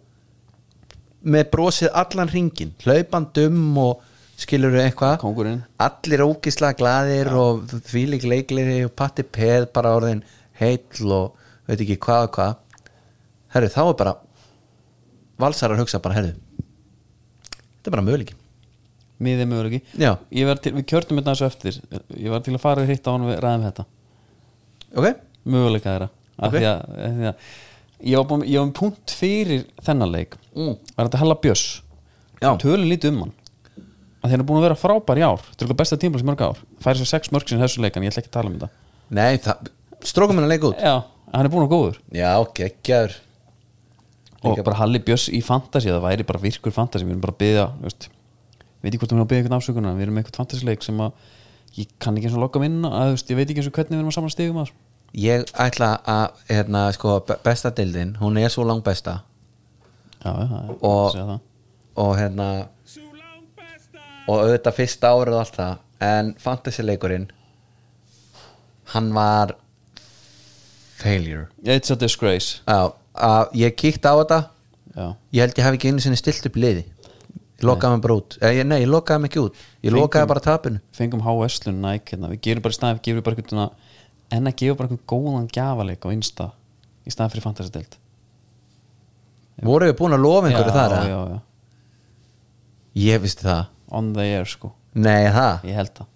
með brosið allan ringin hlaupandum og skilur eitthvað
kongurinn
allir ógislega glaðir og þvílík leikleri og patti peð bara orðin heill og veit ekki hvað og hvað herru þá er bara valsarar hugsa bara herru þetta er bara möguleiki
miðið möguleiki
Já.
Ég var til, við kjörtum þetta þessu eftir ég var til að fara og hitta á hann og við ræðum þetta
ok,
möguleika þeirra af
Ok.
því að, af því að ég var búin, ég var um punkt fyrir þennan leik
Mm.
var þetta Halla Björs
Já.
tölum lítið um hann að þeir eru búin að vera frábær í ár þetta er eitthvað besta tímabils í mörg ár færi sér sex mörg sinni þessu leikan, ég ætla ekki að tala um þetta
nei, það, strókum hennar leik út
já, en hann er búin að góður
já, geggjaður
og bara Halli Björs í fantasi það væri bara virkur fantasi, við erum bara að byggja veist, við veitum hvort við erum að byggja einhvern afsökunar við erum með einhvern fantasileik sem að ég kann ekki eins og lokka minna, að, þú veist, ég veit ekki eins og hvernig við erum að samla stigum að
ég ætla að hérna, sko, be- besta deildin, hún er svo langt besta
já, já, já,
Og-
segja það.
og hérna
Sulão Pesta!
og auðvitað fyrsta árið og allt það en fantasy leikurinn hann var failure
it's a disgrace
Já, að ég kíkti á þetta
já.
ég held ég hef ekki einu sinni stilt upp liði ég lokaði mig bara út eh, ég, nei, ég lokaði mig ekki út ég lokaði bara tapinu
fengum HS-lun Nike hérna. við gerum bara í staðið, gerum bara einhvern svona- en að gefa bara einhvern góðan gjafaleik á Insta í staðið fyrir fantasidelt
voru við búin að lofa einhverju þar
já,
að?
já, já.
ég vissi það
on the air sko,
nei, það
ég held það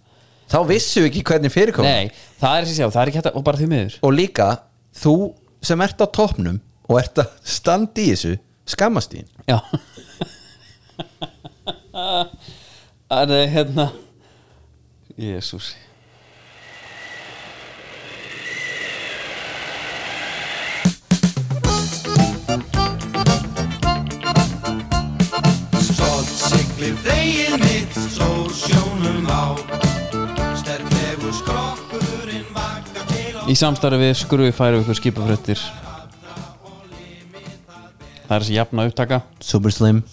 þá vissum við ekki hvernig fyrirkom
nei, það er sem sé, það er ekki hægt að, og bara því miður
og líka þú sem ert á toppnum og ert að standa í þessu skammast í
já það er hérna jésús
Stolt siglir vegið mitt, sól sjónum á Sterklegur skrokkurinn vaka til á
í samstarfi við skrufi færum við ykkur skipafröttir það er þessi jafna upptaka
super slim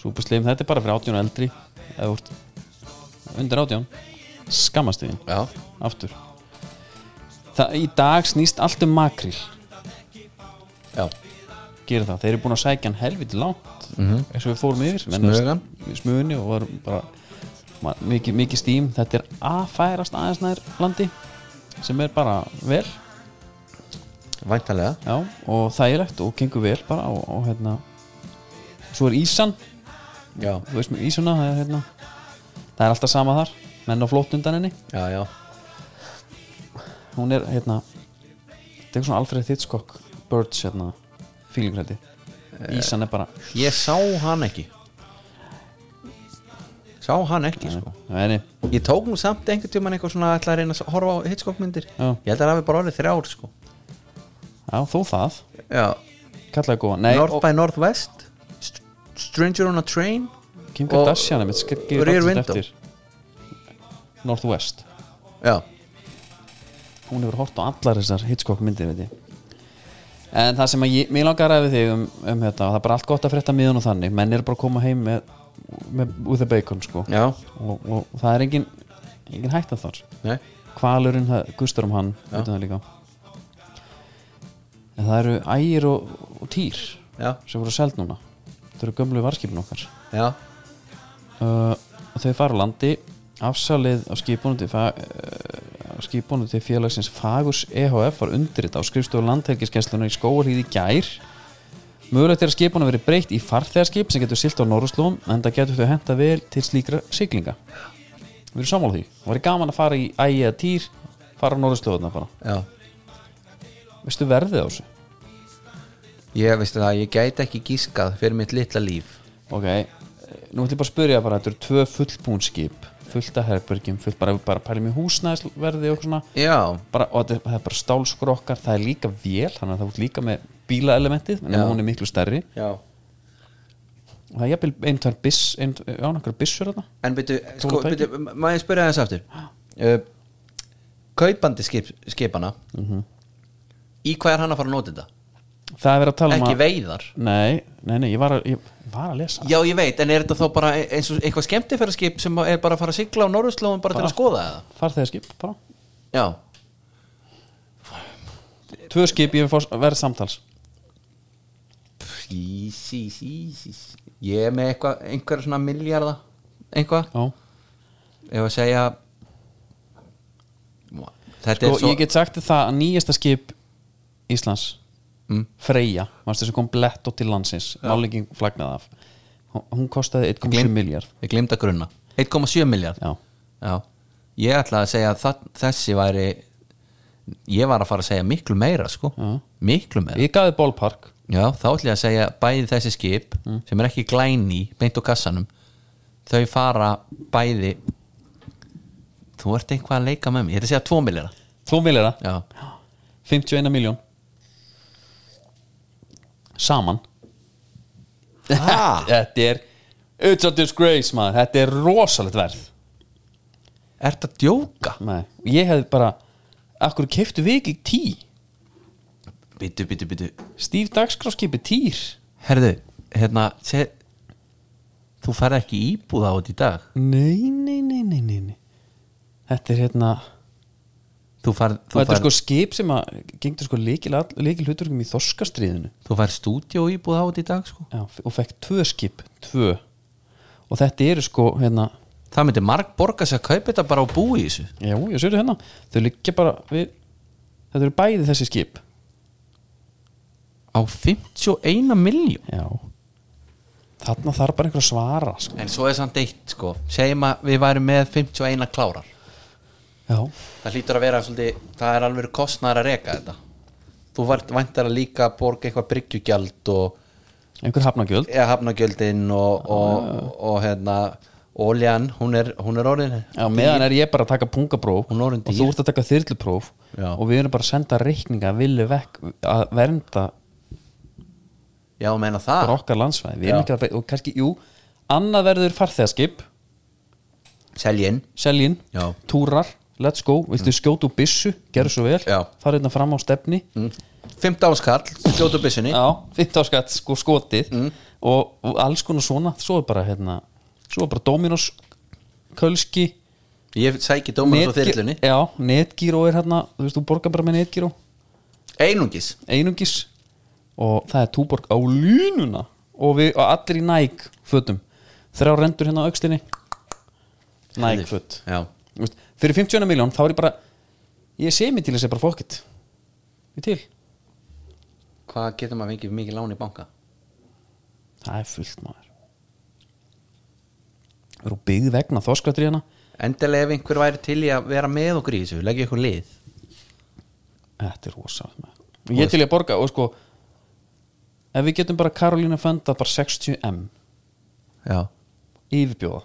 Súperslim, þetta er bara fyrir 18 og eldri eða úr undir 18 skammast þín,
já
aftur það, í dag snýst allt um makril
já
gera það, þeir eru búin að sækja hann helviti langt eins og við fórum yfir
Smugan.
smugunni og var bara ma- mikið, mikið stím, þetta er að færast aðeins nær landi sem er bara vel
væntalega
já, og þægilegt og gengur vel bara og, og hérna svo er Ísan
já
þú veist með Ísuna það er, hérna, það er alltaf sama þar menn á flótt undan henni
já, já,
hún er hérna þetta er eitthvað svona Alfred Hitchcock Birds hérna fílingrætti Ísan er bara
ég sá hann ekki sá hann ekki sko.
henni
ég tók nú samt einhvern tímann eitthvað svona ætla að reyna að horfa á Hitchcock myndir
Já.
ég held að það hafi bara orðið þrjár sko.
já þú það
já,
kallaði góðan nei
North
og
by Northwest St Stranger on a Train
Kim
og-
Kardashian einmitt sk- gefur
Rear
allt þetta
Window.
eftir. Northwest
já,
hún hefur hort á allar þessar Hitchcock myndir veit ég en það sem að ég, mér langar að ræða við þig um, um þetta og það er bara allt gott að frétta miðun og þannig menn er bara að koma heim með, með with the bacon sko
já,
og, og það er engin, engin hætta þar
nei
kvalurinn, það- gustur um hann
Já.
utan það líka en það eru ægir og, og týr
já,
sem voru seld núna þau eru gömlu varskipin okkar
já,
uh, og þau fara á landi afsalið á skipunum til, fa- uh, á skipunum til félagsins Fagus EHF var undirrita á skrifstofu landhelgiskenslunar í skóarhýði gær mögulegt er að skipunum verið breytt í farþegarskip sem getur silt á Norðurslóum en það getur þau henta vel til slíkra siglinga við erum sammála því og verið gaman að fara í ægja týr fara á Norðurslóðuna bara
já
veistu verðið á þessu
Ég veistu það, ég gæti ekki gískað fyrir mitt litla líf
ok, eh, nú ætlum ég bara að spyrja bara, þetta eru tvö fullbúin skip fullt af herbergjum, fullt bara, bara pælum í húsnæðisverði og eitthvað svona
Já,
bara, og þetta er, það er bara stálskrokkar, það er líka vél þannig að það er líka með bílaelementið en
Já.
hún er miklu stærri
já
og það er jafnvel ein, tvær biss, ein, já, nokkar byssur þarna
En byrju, sko,
Tólf
byrju,
tæki.
maður ég spyrja þess aftur uh, Kaupandi skip, skipana Í hvað er hann að fara að nota þetta?
það er verið að tala um
Ekki
að
veiðar
nei, nei, nei, ég var að, ég var að lesa
Já, ég veit, en er þetta þá bara e-, eins og eitthvað skemmtifæra skip sem er bara að fara að sigla á norðurslóðum bara til að
Bara-
skoða það?
farþegarskip, bara
Já,
tvö skip ég verð samtals
sí, sí, sí, sí. sí. Ég er með eitthvað, einhverja svona miljarda eitthvað,
já
ef að segja Þetta
Sko,
er svo
ég get sagt þér það að nýjasta skip Íslands
Mm.
Freyja, mannstu þessu kom blett og til landsins málingin flagnað af Hún- hún kostaði 1,7
Gleym-
miljard
Ég glemd að grunna 1,7 miljard
já,
Já, ég ætla að segja að það, þessi væri ég var að fara að segja miklu meira sko
Já.
miklu meira
ég gaði bólpark
Já, þá ætla ég að segja bæði þessi skip
Mm.
sem er ekki glæni beint á kassanum þau fara bæði þú ert eitthvað að leika með mér ég ætla að segja 2 miljara
2 miljara,
Já,
51 miljón saman
Ha?
*laughs* þetta er it's a disgrace maður, þetta er rosalegt verð
ert að djóka
Nei. ég hefði bara akkur keftu við ekki tí
Bitu, bitu, bitu
stíf dagskráskipi týr
Herðu, hérna se, þú færð ekki íbúð á þetta í dag
nei, nei, nei, nei, nei, nei. þetta er hérna
þú færð,
og
þú
þetta er
færð,
sko skip sem að gengdu sko leikil, leikil hluturkum í þorskastriðinu
þú færð stúdíó íbúð á þetta í dag sko
Já, og fekk tvö skip, tvö og þetta eru sko hérna,
Það myndi marg borga sig að kaupa þetta bara og búa í þessu
já, ég sér hérna þau liggja bara við þetta eru bæði þessi skip
á 51 miljón
já þarna þarf bara einhver að svara sko.
En svo er samt eitt sko Segjum að við værum með 51 klárar
já,
Það hlýtur að vera svolítið Það er alveg kostnæður að reka þetta Þú vært væntar að líka að borga eitthvað bryggjugjald og
einhver hafnagjöld
eða hafnagjöldin og, og, og, hérna Óljan, hún er, hún er orðin
já, meðan er ég bara að taka pungapróf
Hún er orðin
og
dýr.
þú ert að taka þyrlupróf
Já.
og við erum bara að senda reikninga vilju vekk að vernda
Já, meina það
bara okkar landsvæði Við erum
Ah. Já.
ekki að beita- og kannski, jú, annað verður farþegaskip
Seljinn
seljinn,
Já. Mm.
túrar let's go, viltu skjóta úr byssu, gerðu svo vel
Já.
fara hérna fram á stefni
15 skall, fljótu byssunni
já, 15 skatt sko skotið og, og alls konar svona, svo er bara hérna, svo er bara Dominos Kölski,
Ég sæki dómar svo
netgí-
þyrlunni
já, netgíró er hérna, þú veist, þú borgar bara með netgíró
Einungis
einungis og það er túborg á línuna og, við, og allir í næg fötum þrjá rendur hérna á aukstinni næg föt
Já
Þú veist, fyrir 50 miljón þá er ég bara ég sé mig til þess að bara fókitt ég til,
Hvað getur maður fengið mikið lán í banka?
það er fullt maður við erum byggð vegna þorskvættur hérna
Endilega ef einhver væri til í að vera með okkur í þessu Leggja ykkur lið
þetta er rosa maður ég er til ég að borga og sko ef við getum bara Karolína fönda bara 60M
Já
yfirbjóða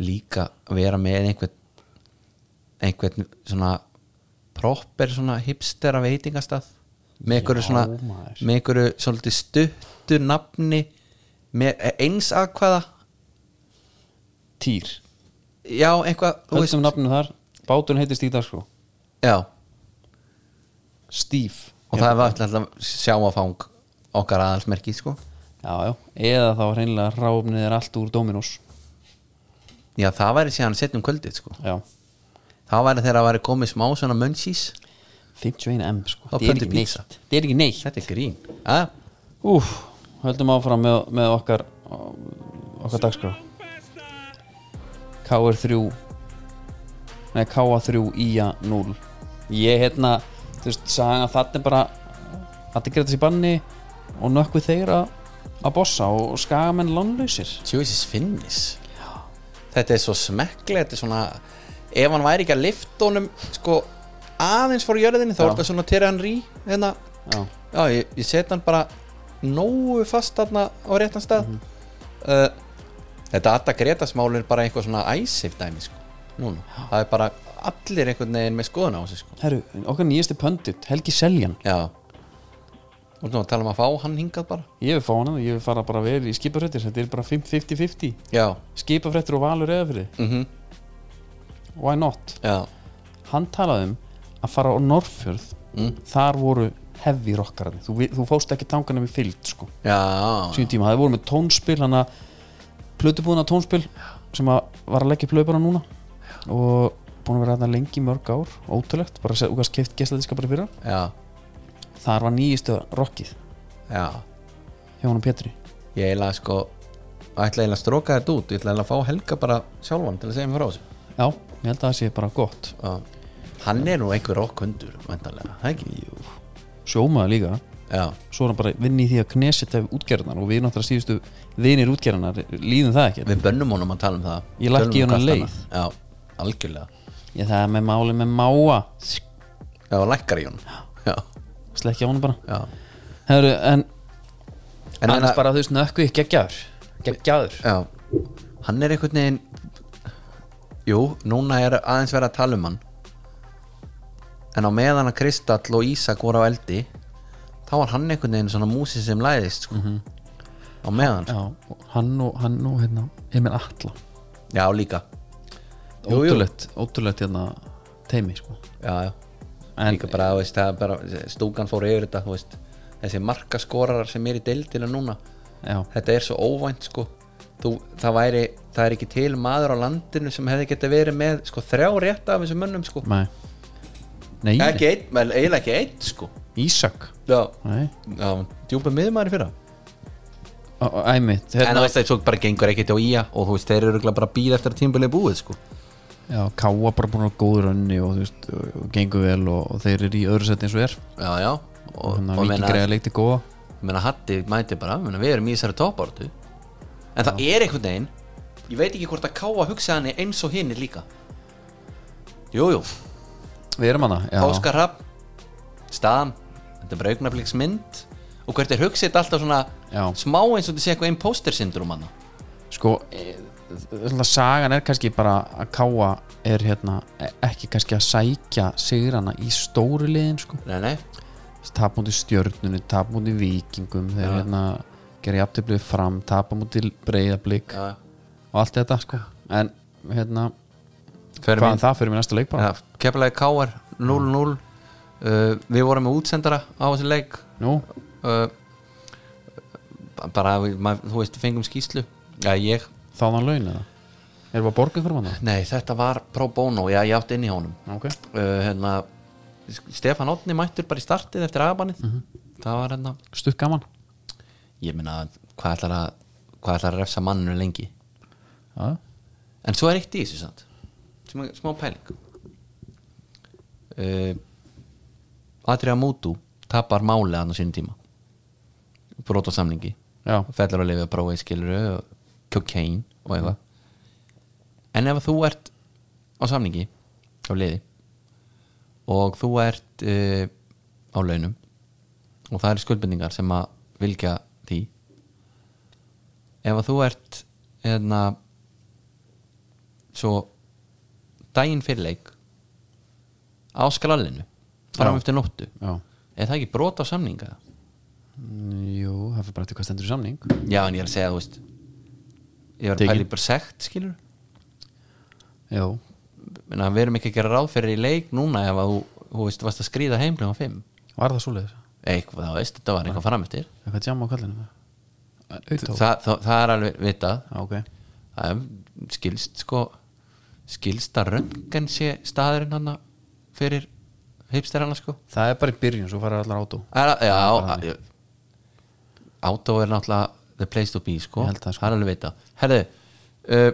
Líka vera með einhvern einhvern svona proper svona hipstera veitingastað með einhverju
Já,
svona
maður.
með einhverju svolítið stuttu nafni með e, eins aðkvæða
týr,
já, eitthvað þú
höldum nafnum þar báturinn heitir Stíf Dagskró
já,
Stíf
og það er alltaf að sjá að fang okkar aðalsmerki sko
já, já. eða þá hreinlega ráfnið er allt úr Dominos
já, það væri síðan setjum kvöldið sko
já,
það væri þegar að væri komið smá svona munchís
51M sko
Þá
Þetta er
pöntum
ekki
pizza.
neitt. Þetta er ekki neitt
þetta er grín að,
Úf, höldum áfram með, með okkar okkar dagskrá KR3 Nei, KA3 IA0 Ég hérna, þú veist, sagði að þetta er bara allir greita sér banni og nökkvið þeir að að bossa og skagamenn lánlausir
Jesus Finnis þetta er svo smekklega þetta er svona, ef hann væri ekki að lift honum sko aðeins fór jörðinni þá
Já.
er þetta svona Terran Rí hérna,
já,
já, ég, ég set hann bara nógu fast þarna á réttan stað uh, þetta Atta Gretasmál er bara eitthvað svona æsif dæmi sko. núna, það er bara allir einhvern veginn með skoðun á sig sko.
herru, okkar nýjasti pöndut Helgi Seljan,
já og nú tala um að fá hann hingað bara
ég vil fá hann og ég vil fara bara verið í skipafrættir, þetta er bara 50-50
já,
skipafrættir og valur eða fyrir
mm
why not,
já,
hann talaði um að fara á Norrfjörð þar voru heavy rockararnir þú, vi- þú fóst ekki tanganum í fyllt sko
já,
sínum tíma, það voru með tónspil hann að plötubúðuna tónspil sem að var að leggja upp laupana núna og búin að vera þarna lengi í mörg ár ótrúlegt, bara að úkast keft gestadiska bara fyrir
já,
þar var nýjistu rockið
já.
hjá honum Pétri
ég eiginlega sko ætla eiginlega að stróka þetta út ég ætla eiginlega að fá Helga bara sjálfan til að segja mér frá þessu
já, ég held að það sé bara gott
já. hann er nú einhver okkundur væntanlega, það ekki? Jú.
sjómaður líka,
já,
svo er hann bara vinn í því að knesita útgerðnar og við náttúrulega síðustu vinir útgerðnar, líðum það ekki
Við bönnum honum að tala um það
Ég lækki
Tölum um
honum
kastana.
leið.
Já, algjörlega
ég það er með máli með máa
Já, lækkar í honum Já,
slekja honum bara
já
Heru, en,
En hann,
annars bara þú veist nökku í geggjaður geggjaður
já, hann er einhvern veginn Jú, núna er aðeins verið að tala um hann En á meðan að Kristall og Ísak voru á eldi Þá var hann einhvern veginn svona músi sem læðist sko. Á meðan
Já, og hann og, hann og hérna, Emil Atla
Já, líka Jú, jú.
Ótrúlegt, ótrúlegt hérna teimi sko.
Já, já
En-
Líka bara, þú veist, það er bara Stúkan fór yfir þetta, þú veist Þessi markaskorarar sem er í deildina núna
Já,
þetta er svo óvænt sko þú, það, væri, það er ekki til maður á landinu sem hefði geta verið með sko, þrjá rétt af þessum mönnum sko.
nei Nei,
ekki einn, vel, eiginlega ekki einn sko.
Ísak
já,
Nei,
já djúpa miðmaður fyrir
Ó, ó, æmitt
en
hérna,
það veist það svo bara gengur ekkert á ía og þú veist þeir eru örugglega bara býð eftir að tímbilið búið sko.
Já, Káa bara búin að góður önni og, þú veist, og, og gengur vel og, og þeir eru í öðru sett eins og er Hérna,
já, já og,
Þannig
og
að Viki
meina,
greiða leikti góða
meina Hatti mæti bara meina, við erum í þessari toppáratu en það er einhvern veginn ég veit ekki hvort að káa hugsa hann eins og hinn líka jújú jú.
Við erum hana, já
Óskar Rapp staðan, þetta er bara augnabliksmynd og hvert er hugsið alltaf svona
Já.
smá eins og þetta sé eitthvað imposter syndrom hann
Sko, e, svona sagan er kannski bara að Káa er hérna e- ekki kannski að sækja sigrana í stóru liðin sko
nei, nei,
tap múti stjörnunni, tap múti vikingum þeir hérna gera jafntöflið fram tapa múti breyðablík
já,
og allt þetta sko en hérna,
fyrir
hvaðan
mín
það fyrir mér næsta leik bara
ja, keflaði Káar 0-0 uh, við vorum með útsendara á þessi leik
nú,
uh, bara, við- maður- þú veist, fengum skýslu já, ég,
þáðan laun eða erum við að borga ykkur manna?
nei, þetta var pro bono, já, ég átti inn í honum
ok,
uh, hérna Stefan Átni mættur bara í startið eftir aðbannið
Mhm.
það var hérna
stutt gaman
ég meina hvað ætlar að hvað ætlar að refsa manninu lengi
ja.
en svo er eitt í þessu sant sem er smá pæling uh, Adria Mútu tapar máli hann á sínum tíma brot á samningi
já,
fellur að lifa að prófa í skiluru og cocaine og eitthvað en ef þú ert á samningi á liði og þú ert uh, á launum og það eru skuldbendingar sem að vilja því ef að þú ert eðna, svo daginn fyrir leik á skrallinu fram eftir nóttu
já
er það ekki brot á samninga?
Mm, jú, það fyrir bara eftir hvað stendur í samning
Já, en ég er að segja, þú veist Ég var að
Tekin.
pæla í bara sekt, skilur
já,
Menna, Við erum ekki að gera ráð fyrir í leik núna ef að þú, þú veist, varst að skrýða heim klukkan 5
var það svoleiðis?
Eitthvað, þá veist, þetta var eitthvað framöftir
eitthvað tjáma á kallinu? auðvitað,
það, það, það er alveg vitað
já ok
Það er skilst, sko skilst að röngan sé staðurinn hann fyrir hipsterana, sko
það er bara í byrjun, svo fara allar átó
er, að- Já, átó er náttúrulega the place to be, sko,
Ég held það, sko.
er alveg vitað Herðu, uh,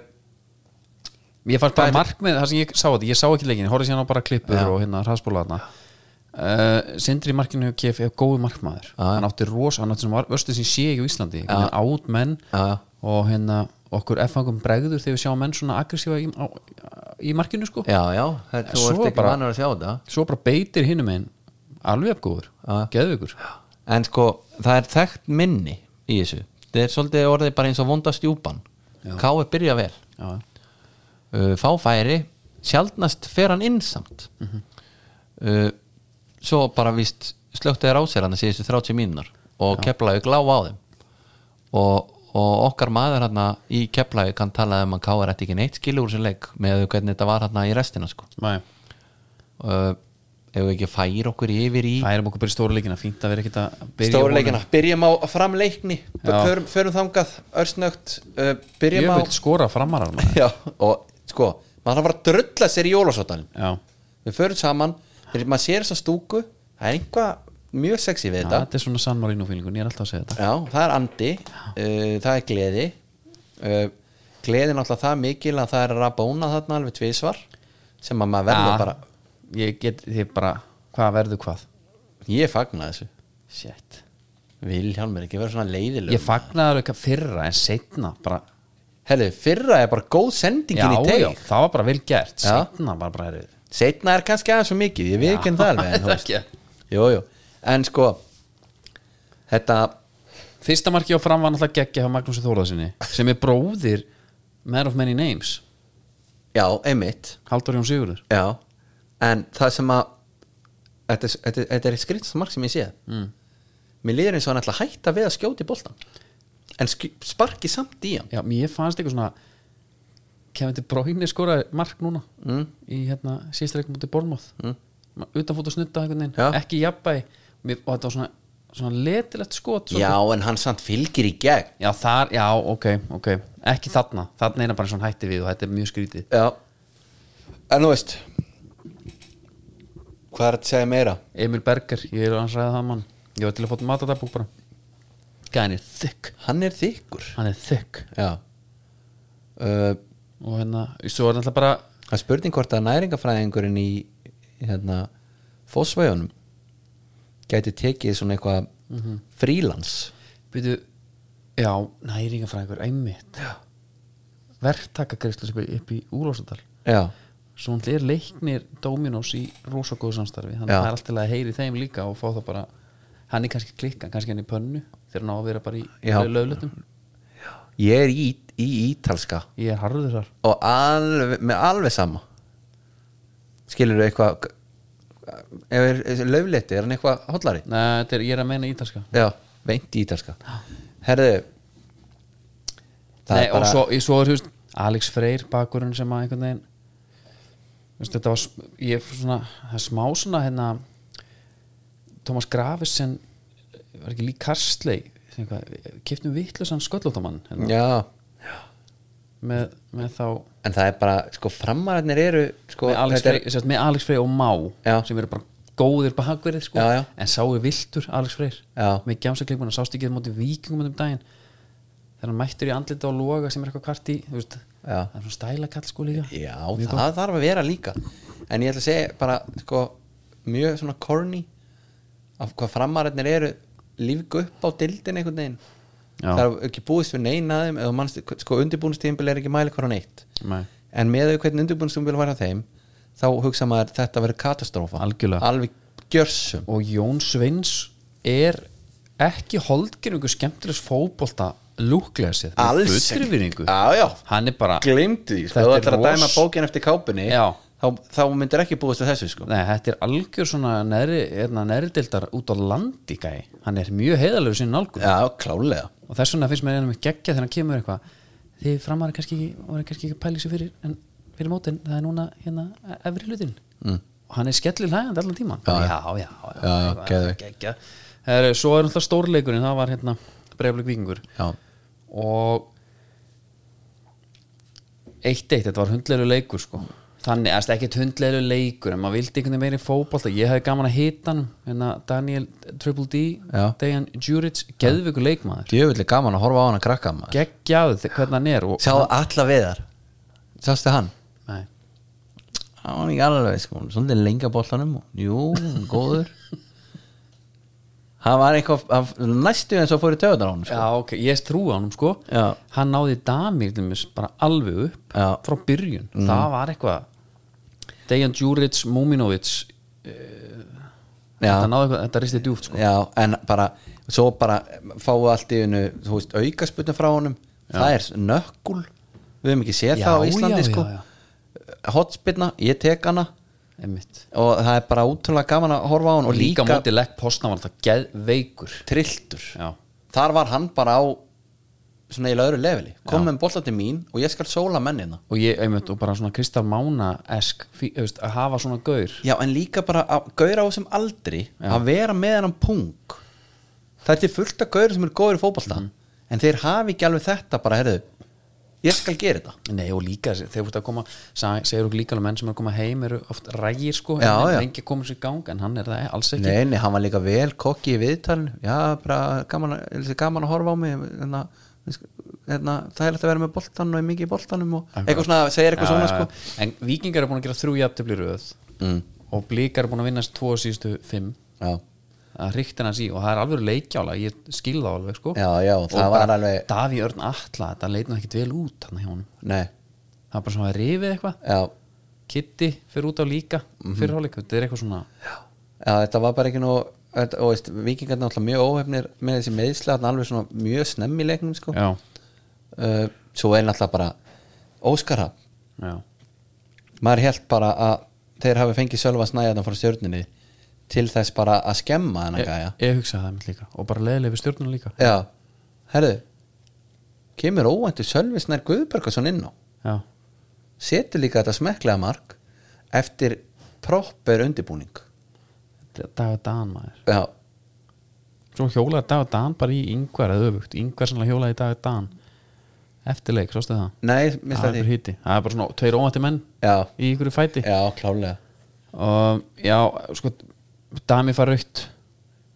Ég fannst bara
Hvað er-
markmið það sem ég sá þetta, ég sá ekki leikin, ég horfði síðan á bara klippur og hérna hraðspóla þarna uh, Sindri í markinu KF er góðu markmaður hann átti rosa, hann átti sem var östu sem sé ekki á Íslandi, hann er át menn
Já.
og hérna okkur F-fangum bregður þegar við sjáum menn svona aggressífa í, á, í markinu sko
já, já, það- þú
Svo
ert ekki
bara-
vanur að sjá þetta
svo bara beitir hinum einn alveg góður,
Já.
geðveikur
en sko það er þekkt minni í þessu það er svolítið orðið bara eins og vonda stjúpan Káir byrja vel
já,
uh, fá færi sjaldnast fer hann inn samt uh, svo bara víst slöktu þér á sér hann að síðustu 30 mínunar og keplaði gláfa á þeim og, og okkar maður hann í keplaði kann tala um að Káir ætti ekki neitt skilu úr sem leik með hvernig þetta var hann í restina sko
Nei,
uh, ef við ekki færi okkur yfir í
færum okkur bara í stóru leikina fínt að vera ekkert að byrja
Stóru
honum.
leikina, byrjum á framleikni
Já.
förum, förum þangað, örsnögt uh,
ég
byrjum á
vil skora framarar maður.
*laughs* Já, og sko, maður þarf bara að drulla sér í jólasóttanum
já,
við förum saman, þegar maður sér þess stúku það er einhvað mjög sexy við þetta
þetta er svona San Marino fílingun, ég er alltaf að segja þetta
Já, það er andi uh, það er gleði uh, gleði náttúrulega það mikil að það er að rabóna þarna alveg tvisvar sem að maður verður
Já,
bara
ég get þið bara, hvað verður hvað
ég fagna þessu,
shit,
Vilhjálmur ekki verður svona leiðileg
ég fagnaði eitthvað fyrra en setna bara,
Herðu, fyrra er bara góð sendingin
já,
í teig
já, það var bara vel gert
Já.
setna bara bara erið
Seinna er kannski aðeins svo mikið, ég viðkynna það alveg en, þú veist. Jú, jú, en sko Þetta
Fyrsta marki á fram var náttúrulega geggja hjá Magnúsi Þóraðsinni sem er bróðir Man of Many Names
Já, einmitt
Haldur Jón Sigurður
Já, en það sem að Þetta, er- þetta, þetta er skrýtast mark sem ég sé mm. Mér líður eins og hann ætla að hætta við að skjóta í boltan En sk- sparki samt í hann
Já, mér fannst eitthvað svona Kevin De Bruyne skoraði mark núna mm. í hérna sístreikum út í Bornmoth mm. utanfótt að snutta einhvern veginn,
Já.
ekki jafnbæði mér, og þetta var svona, svona letilegt skot
Já,
svolítið.
en hann samt fylgir í gegn
já, þar, já, ok, ok ekki þarna, þarna er hann bara svona hætti við og þetta er mjög skrítið
Já En þú veist Hvað er að segja meira?
Emil Berger, ég er að hans ræða það mann ég var til að fóta matadabúk bara gæðin er þykk,
Hann er þykkur
hann er þykk
Já uh,
og hérna, svo er náttúrulega bara
Það er spurning hvort að næringafræðingurinn í í hérna fósvæjunum gæti tekið svona eitthvað
Mhm.
frílans
byrju, já, næringafræðingur einmitt verktakagreislu sem er upp í úrlósadal
Já,
svo hann er leiknir Dominos í rosa góðu samstarfi þannig
Já.
að það er alltaf að heyri þeim líka og fá það bara hann er kannski klikka, kannski hann í pönnu þegar hann á að vera bara í
Já.
löglutum
ég er í, í ítalska
ég er harður þar
og alveg, með alveg sama skilur þú eitthvað ef er, er löfletti, er hann eitthvað hollari?
Nei, þetta er, ég er að meina ítalska
Já, veint í ítalska Herðu það
Nei,
er bara,
og svo, í- svo er, þú veist, Alex Freyr bakurinn sem að einhvern veginn þú veist, þetta var, sm- ég fór svona það er smá svona, hérna Thomas Gravesen var ekki lík Karsley kiptum vittlusan sköllóttamann hérna,
Já,
með, með þá
en það er bara sko framararnir eru sko,
með Alex,
þetta er-
Freyr, er... með Alex Freyr og Má
Já.
sem eru bara góðir bakverðir sko.
Já, já.
en sá er viltur Alex Freyr
Já.
með gjámsakleikmann og sást ekki móti vikingum um daginn þegar hann mættur í andlita og loga sem er eitthvað kvart í þú veist,
Já.
það er svona stæla kall sko líka
Já, það þarf að vera líka En ég ætla að segja bara sko, mjög svona corny af hvað framararnir eru lífgu upp á dildin einhvern veginn
Já.
Það er ekki búist við neina þeim eða mannst, sko undirbúinstíðinbíl er ekki mæli hvar á neitt
Nei.
En með þau hvernig undirbúinstíðinbíl var á þeim þá hugsa maður þetta verið katastrófa
Algjörlega.
Alveg gjörsum
og Jón Sveins er ekki holdgerð einhver skemmtilegs fótbolta lúklega séð með
Alls
fullri
ekki. Ah.
virðingu.
Já, já.
hann er bara
Gleimdu því, sko,
Þetta
þú
er
ætlar að
ros-
dæma bókin eftir kápunni
Já.
þá, þá myndir ekki búist við þessu sko
Nei, þetta er algjör svona neðri, hérna, neðri deildar út á landi gæ hann er mjög heiðalegu sinni nálgun
Já, klálega
og þess vegna finnst mér einnig geggja þegar hann kemur eitthvað þið framar kannski ekki, voru kannski ekki að pæli sig fyrir en fyrir mótin, það er núna hérna e- efri hlutin mm. og hann er skellir hlægandi allan tíman já, já, já,
Já, já,
já,
geðveik.
geggja Her, svo er náttúrulega stórleikurinn, það var hérna breyflik vikingur
Já.
og 1-1, þetta var hundleiru leikur sko þannig, það er ekkert hundleiru leikur en maður vildi einhvern veginn meiri fótbolta ég hefði gaman að hita hann, hérna Daniel Triple D,
Já.
Dejan Juric geðviku leikmaður,
Djöfulli gaman að horfa á hana krakka maður
geggjaðu þe- hvernig hann er og,
Sjá alla viðar Sástu hann?
nei,
Hann var ekki alveg sko Svolítið lengi á bollanum og- Jú, góður Hann var eitthvað hann- Næstu eins og fór í töðunar á hann sko.
já ok, ég trúi á hann sko
Já.
hann náði damir dæmis, bara alveg upp
Já. Mm.
frá byrjun, það var eitthvað Dejan Juric, Muminovic þetta, náði eitthvað, þetta risti djúft sko.
Já, en bara svo bara fáu allt í einu þú veist, aukasputnum frá honum það er nökkul, við höfum ekki séð
Já,
það á Íslandi
já,
sko
já, já.
hotspilna, ég tek hana
einmitt
og það er bara útrúlega gaman að horfa á hann og
líka,
líka,
líka móti legg postna var alltaf geðveikur
trilltur
já,
þar var hann bara á svona í lögru leveli, kom með bollan til mín og ég skal sóla mennina
og ég einmitt og bara svona Kristal Mána-esk fí- þú veist, að hafa svona gaur
Já, en líka bara að gauðra á þessum aldri að vera með hennan pung það er til fullt af gauður sem eru góður í fótbolta en þeir hafi ekki alveg þetta bara, herðu, ég skal gera þetta
Nei og líka þegar þú ert að koma sa- segir okkur líka alveg menn sem er að koma heim eru oft rægir sko,
Já,
en
já.
lengi komur sér í gang en hann er það alls ekki
Nei, nei, hann var líka vel kokki í viðtalinu Já, bara gaman, að- þessi gaman að horfa á mig hérna, hérna, Það er hægt að vera með boltan og er mikið í boltanum og eitthvað svona, segir eitthvað svona sko.
sko. en vikingar eru búin að gera þrjú jafntefli í röð mm. og blíkar eru búin að vinnast tvo síðustu fimm
Já,
að hriktin hans í og það er alveg leikjála ég skil það alveg sko
Já, já,
og
það var
bara
alveg-
Daví Örn Atla, þetta leit nú ekkit vel út hann hjá honum,
nei,
það var bara svona að rifið eitthvað
já
Kitty fyrir út á líka mm -hmm. fyrirháleik, þetta er eitthvað svona
Já, þetta var bara ekki nú þetta- og veist, vikingarnir náttúrulega mjög óhefnir með þessi meðsla, þannig alveg svona mjög snemmi í leiknum sko.
já,
uh, svo er náttúrulega bara Óskara,
já,
maður held bara að þeir hafi fengið Sölva Snæðan frá stjörninni til þess bara að skemma hennar gæja
ég, ég hugsaði það mitt líka og bara leiðileg við stjórnum líka
Já, herðu kemur óvæntu Sölvi Snær Guðbergason inn á
já,
setur líka þetta smekklega mark eftir proper undirbúning
Dagur Dan maður
Já,
svo hjólaði Dagur Dan bara í yngvar eða öfugt, yngvar sannlega hjólaði Dagur Dan eftirleik, svo stuð það
nei, mista
það er,
því
hiti. það er bara svona tveir óvætti menn
Já,
í ykkur fæti
já, klálega
og já, sko Dami fara rautt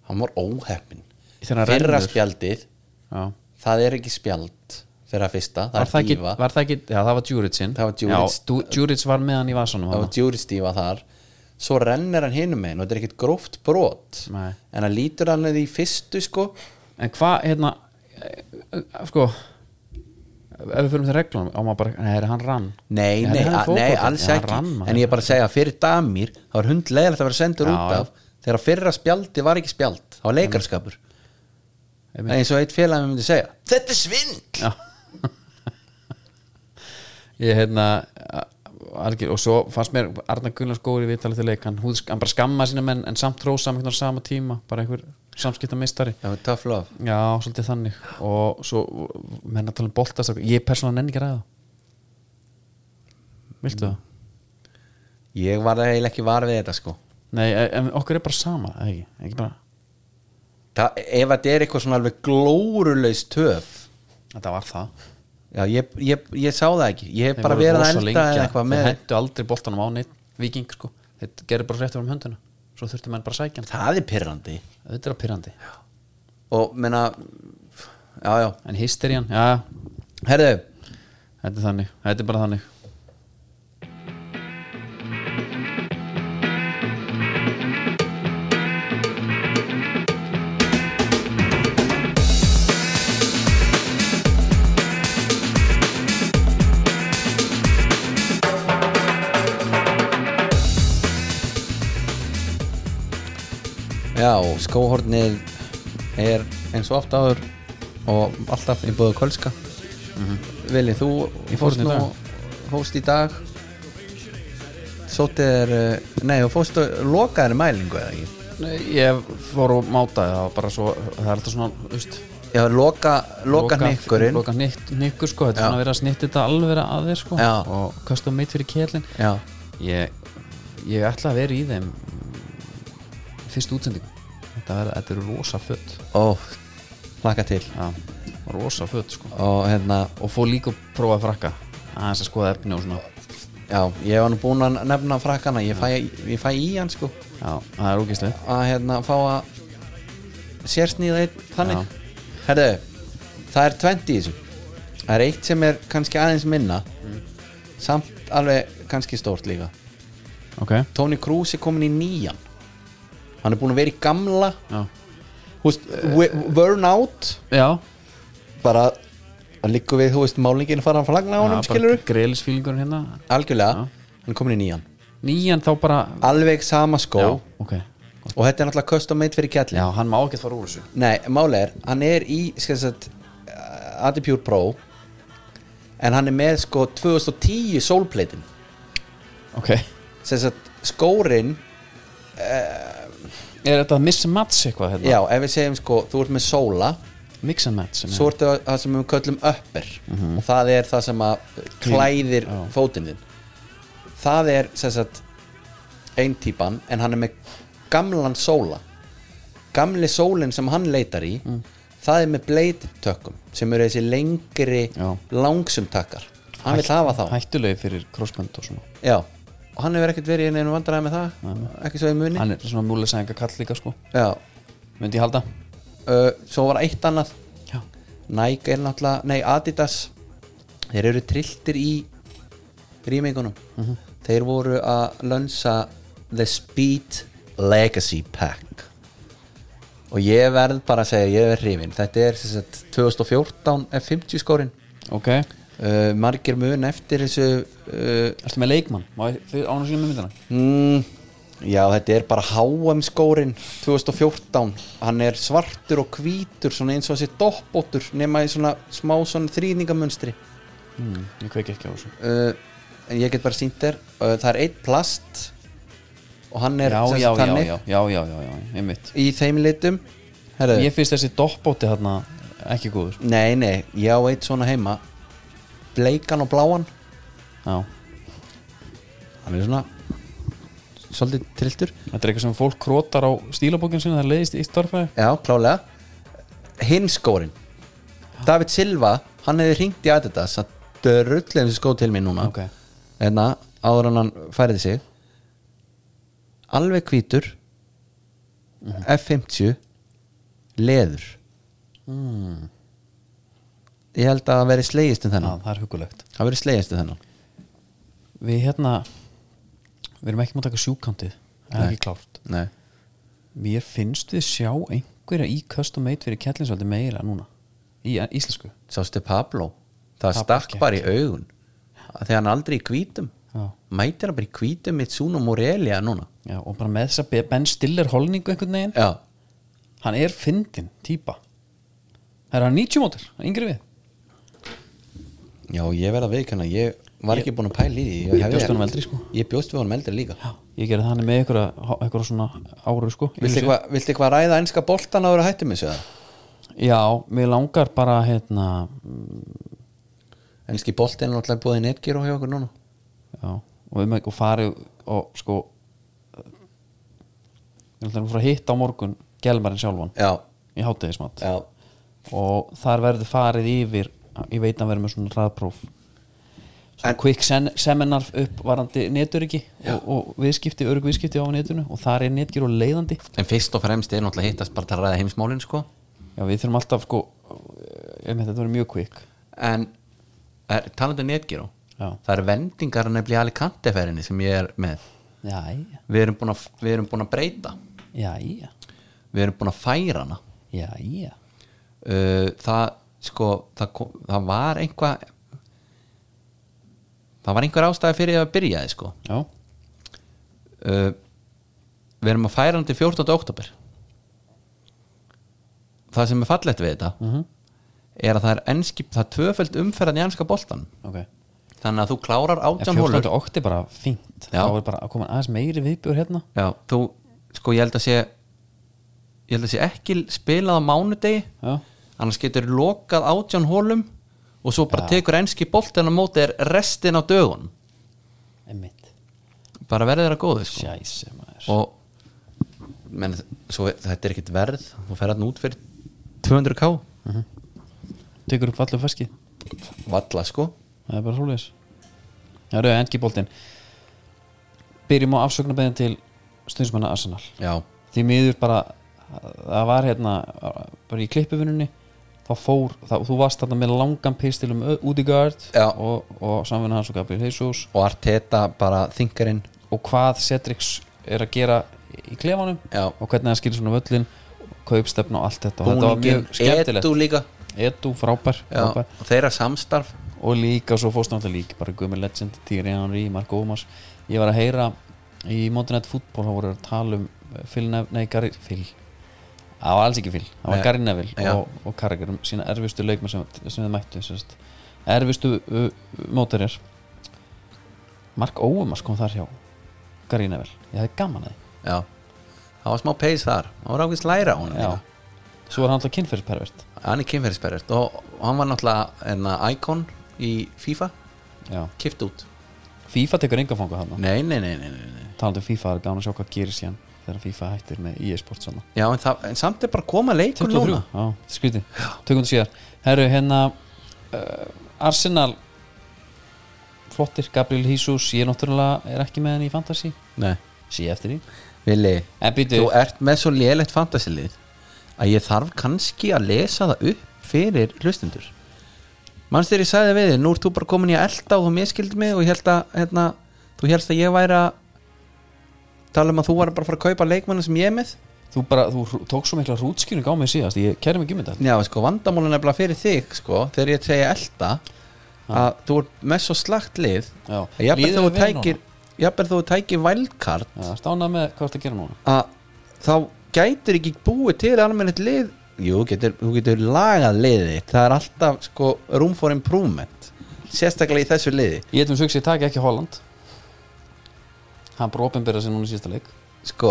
hann var óheppin
Þegar hann
fyrra
rennur.
spjaldið,
já.
það er ekki spjald fyrra fyrsta, það
var það
er
ekki,
dífa
var það ekki, já það var Djuricin
Það var Djuric.
Djuric var með hann í vasanum
það var
þarna.
djúristífa þar svo rennir hann hinum megin og þetta er ekkit gróft brot
Nei.
en hann lítur hann í fyrstu sko
en hvað, hérna eh, eh, sko ef við fyrir til reglunum, á maður bara nei, er hann rann
nei,
Nei, hann
nei,
er
a- nei,
fótbolti.
alls
Já, hann
ekki
rann, maður.
en ég er bara að segja að fyrir damir það var hundlegilegt að vera sendur
Já,
út
já.
af þegar fyrra spjaldið var ekki spjald það var leikarskapur
Einmitt.
eins og eitt félag myndi segja þetta er svindl
já ég hérna a- algjör, og svo fannst mér Arna Gunnars góður í viðtalið til leik hann, húðsk, hann bara skammaði sína menn en samt rósa hann á sama tíma bara einhver samskipta mistari
það var tough love
já, svolítið þannig og svo menn að tala um boltast ég persónan nenni ekki að ræða
Mm.
viltu það?
ég var eiginlega ekki var við þetta sko
nei, e- en okkur er bara sama eða ekki, ekki bara
það, ef þetta er eitthvað svona alveg glórulegs töf
þetta var það
já, ég, ég, ég sá það ekki ég hef
Þeir
bara
voru
verið að
rosa
elda
lengi
eða
að-
eitthvað
þeir
með
hendu aldrei boltanum á neitt viking sko, þeir gerðu bara rétt um hönduna svo þurftu menn bara að sækja hann
það er pyrrandi
auðvitað er það pyrrandi,
og menna já, já,
en hysterían já,
herðu
þetta er þannig, þetta er bara þannig
já, skóhornið er eins og oft áður og alltaf í búðu kölska viljið þú
Ég fór
fórst
hérna Mhm. í
nú
dag.
fórst í dag sótið er eh, nei, og fórst og lokaðir mælingu eða ekki
Nei, ég fór og mátaði það var bara svo, það er alltaf svona veist,
já, loka, loka nikkurinn
loka nikk- nikkur sko, þetta er
Já.
svona að vera að snitta þetta alveg að þér sko
Já.
og custom made fyrir kjellin
já,
ég, ég ætla að vera í þeim fyrst útsending þetta, verða- þetta eru rosa fött
ó, laka til
já, rosa fött sko
og hérna
og fór líka að prófa að frakka aðeins að skoða efni og svona
Já, ég var nú búinn að nefna frakkana ég fæ, ég fæ í hann sko
já, það er ógæslega
að hérna fá að sérsnýða einn
Já.
þannig Herðu, það er 20 í þessu Það er eitt sem er kannski aðeins minna samt alveg kannski stórt líka
ok,
Tony Cruz er komin í nýjan Hann er búinn að vera í gamla
já,
húst, Burn out
já
bara hann liggur við, þú veist, málingin fara að flagna á honum, skilur
greilisfílingurinn hérna
Algjörlega, hann er komin í nýjan
nýjan þá bara
Alveg sama skó
já, ok,
og þetta er náttúrulega custom made fyrir kjallin
Já, hann má ekkert fara úr þessu
Nei, máli er, hann er í skal sagt, uh, Adipure Pro en hann er með sko 2010 sólpleitin
Ok
sem sagt skórin
Er þetta miss and match eitthvað hérna?
já, ef við segjum sko, þú ert með sóla
Mix and match sem
svo
er-
ertu að- það sem við köllum upper og það er það sem að klæðir
Mhm. Já.
fótinn þinn það er sem sagt ein típan en hann er með gamlan sóla gamli sólinn sem hann leitar í
Mm.
það er með bleittökkum sem eru þessi lengri
Já.
langsum takkar hann vil hafa þá
Hættulegi fyrir crossband og svona
já og hann hefur ekkert verið í neinu vandræði með það ekki svo í muni
Hann er svona múlisæðinga kall líka sko
já
Myndi ég halda
uh, svo var eitt annað
Já
Nike er náttúrulega, nei Adidas þeir eru trilltir í rýmingunum þeir voru að lönsa The Speed Legacy Pack og ég verð bara að segja ég er hrifin, þetta er sem sagt, 2014 F50 skórin
Ok
uh, margir mun eftir þessu uh,
Ertu með leikmann? Má ég fyrir án og sína með myndina?
mm, já þetta er bara HM skórin 2014 hann er svartur og hvítur svona eins og þessi doppóttur nema í svona smá svona þrýningamunstri
Mm,
Hm.
ég kveiki ekki á þessu
uh, en ég get bara sínt þér uh, það er eitt plast og hann er
Já,
sem sagt
já, já,
þannig
já, já, já, já, já, einmitt
í þeim litum Herðu,
Ég finnst þessi doppóti þarna ekki góður
nei, nei, ég á eitt svona heima bleikan og bláan
Já
hann er svona svolítið trilltur
Þetta er eitthvað sem fólk krótar á stílabókin sinna Það leiðist í starfæði
já, klálega hinn skórin David Silva, hann hefði ringt í Adidas að drullið þessi skó til mín núna
Ok.
en að áður en hann færði sig alveg hvítur F50 leður ég held að það veri slegist um
Já,
þennan
það er hugulegt
það veri slegist um þennan
Við hérna Við erum ekki múið að taka sjúkantið Það er ekki klárt
Nei.
Mér finnst við sjá einhverja í custom made fyrir kjallinsveldi meira núna Í í íslensku
sástu Pablo það
Pablo
stakk
gekk.
bara í augun þegar hann aldrei í hvítum
Já.
mætir hann bara í hvítum mitt Suno Morelia núna
Já, og bara með þessa Be- Ben Stiller holningu einhvern veginn
já,
Hann er fyndin, típa Það er hann 90 mótur, yngri við
já ég verða viðkjöna ég var ekki búin að pæla í því ég, hefði-
bjóst við honum eldri, sko.
ég bjóst við honum eldri líka
Já, ég gerði þannig með einhverja, einhverja svona áru sko í
viltu
þessu.
eitthvað eitthva ræða enska boltan að vera hættum þessu eða?
Já, mér langar bara hérna
Ennski boltinn er náttúrulega búið í netgíru hjá okkur núna
já, og, við með, og farið og sko ég ætla að fara að hitta á morgun gelmarinn sjálfan
Já,
í hátegismat
já,
og þar verður farið yfir ég veit að verður með svona ræðpróf svona
En-
quick sen, seminar upp varandi neturiki og, og viðskipti, örg viðskipti á netinu og þar er netgir og leiðandi
En fyrst og fremst er náttúrulega hittast bara til að ræða heimsmálin sko
já, við þurfum alltaf sko um, þetta verður mjög quick
En er, talandi um netgíru
Já.
Það eru vendingar nefnilega alikanteferinni sem ég er með
Jæja,
Við erum búin að, við erum búin að breyta
jæja
Við erum búin að færa hana
Jæja
uh, Það sko það, kom, það var einhvað Það var einhver ástæði fyrir að byrjaði sko
Já,
uh, við erum að færa hann til 14. oktober það sem er fallegt við þetta er að það er enski, það er tvöföld umferðan í enska boltan
ok
þannig að þú klárar
En
18
14.
hólur
ótti er bara fínt
Já.
Þá er bara að koma aðeins meiri viðbjör hérna
já, þú, sko ég held að sé ég held að sé ekki spilað á mánudegi
Já.
annars getur lokað 18 hólum og svo bara tekur enski boltan á móti er restin á dögun
Emmitt
bara verður þeirra góðu sko.
Sjæsi maður
og menn, svo, þetta er ekkit verð þú fer hann út fyrir 200k
Tekur upp allir feski
valla sko
Það er bara svoleiðis Já, rauði endgiboltinn Byrjum á afsöknarbeðin til stundsmanna Arsenal
já,
Því miður bara Það var hérna Bara í klippivinnunni Þá fór það, Þú varst þarna með langan pistil um Udigard
Já.
Og, og samvinna hans og Gabriel Jesus
og Arteta bara þingarinn
og hvað Cedrics er að gera í klefanum
Já.
og hvernig hann skilur svona völlin kaupstefna og allt þetta og þetta var
búningin,
mjög skemmtilegt
edu líka
Edu frábær,
já,
frábær.
og þeirra samstarf
og líka svo fórst náttúrulega líka bara Gumi Legend, Tíri Henry, Marko Ómars ég var að heyra í Montanet fútból þá voru þeir að tala um Phil Nev, nei Gary, Phil það var alls ekki Phil, það var
Nei.
Gary Neville
Já.
og, og Carragher, um sína erfistu leikma sem, sem þið mættu sérst. erfistu uh, mótarjar Mark Óumars kom þar hjá Gary Neville, ég hefði gaman að því
já það var smá pace þar, það var ákveðs læra á honum
Já.
líka.
svo er hann alltaf kynferðispervert
hann er kynferðisperrert og og hann var náttúrulega enna icon í FIFA
Já.
kift út
FIFA tekur enga fanga þarna
nei, nei, nei, nei, nei, nei.
talandi um FIFA, það er gaman að sjá hvað gerir síðan þegar FIFA hættir með E e-sport saman
Já, en, það, en samt er bara að koma leikur núna
já, skrítið, tökum þetta síðar herru, hérna uh, Arsenal flottir, Gabriel Jesus ég náttúrulega er ekki með hann í Fantasy
nei,
sé ég eftir því
Vili,
en býtu,
þú ert með svo lélegt fantasilið að ég þarf kannski að lesa það upp fyrir hlustundur mannst þegar ég sagði við þig, nú ert þú bara komin í að elta og þú miskildi mig og ég held að hérna, þú helst að ég væri að tala um að þú var bara að fara að kaupa leikmanna sem ég er með
þú bara þú hrú- tókst svo mikla rútskýring á mig síðast ég kæri mig ekki um þetta
Já, sko, vandamálun er bara fyrir þig, sko þegar ég segja elta að þú ert með svo slagt lið
Já.
að jafnvel
Líður
þú
þér vel
tækir jafnvel þú tækir vældkart
já, stánað með hvað þetta gera núna
að þá gætur ekki búið til almennið lið Jú, getur, þú getur lagað liðið þitt það er alltaf, sko, room for improvement sérstaklega í þessu liði
ég getum sögst ég taki ekki Holland hann brópenbyrða sér núna í síðasta leik
sko,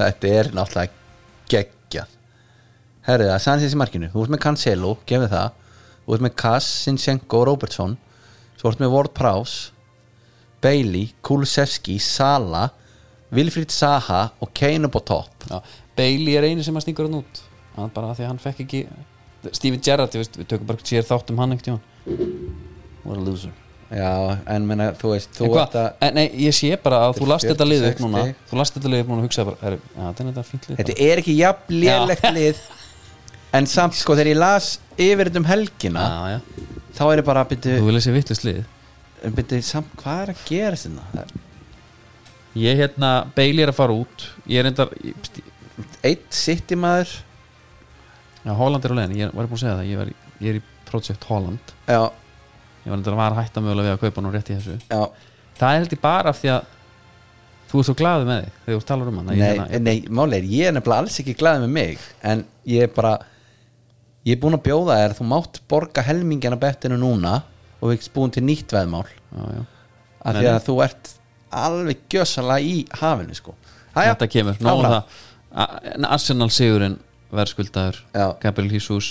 þetta er náttúrulega geggjað herrið það, sannsins í markinu, þú ert með Cancelo gefið það, þú ert með Kass Sinchenko, Robertson, svo ert með Ward Prowse Bailey Kulusevski, Sala Wilfried Saha og Kane upp á topp
já, Bailey er eini sem að stingur hann út hann bara af því að hann fekk ekki Steven Gerrard, ég veist, við tökum bara sér þátt um hann einhvern tíma what a loser
já, en menna, þú veist þú
En hvað,
ert að-
en, Eh, nei, ég sé bara að þú
Þetta er
last þetta lið upp
46
núna
stig.
þú last þetta lið upp núna og hugsaði bara er, ja, þetta er þetta fínt lið
þetta er ekki jafn lélegt lið en samt, sko, þegar ég las yfir þetta um helgina
bara. já, já.
þá er ég bara að byrja,
þú vilja sé vittlist lið
byrja samt, hvað er að hérna? gera sinna?
ég hérna, Bailey er að fara út ég er endar, já,
Eitt sitt í maður
Holland er á leiðin ég var búin að segja það, ég, var, í- ég er í Project Holland
já,
ég var endar að var að hætta mögulega við að kaupa nú rétt í þessu
já
það er held ég bara af því að þú ert svo glaðið með þig þegar þú talar um hann
Nei, nei máli er, ég er nefnilega alls ekki glaðið með mig En ég er bara Ég er búin að bjóða þér Þú mátt borga helmingina bettinu núna Og við erum búin til nýtt veðmál
já, já.
Af
Nei,
því að
nei.
þú ert alveg gjössalega í hafinu sko Æja,
þetta kemur, náðum
áfram.
það A- en Arsenal sigurinn verðskuldaður
Já.
Gabriel Jesus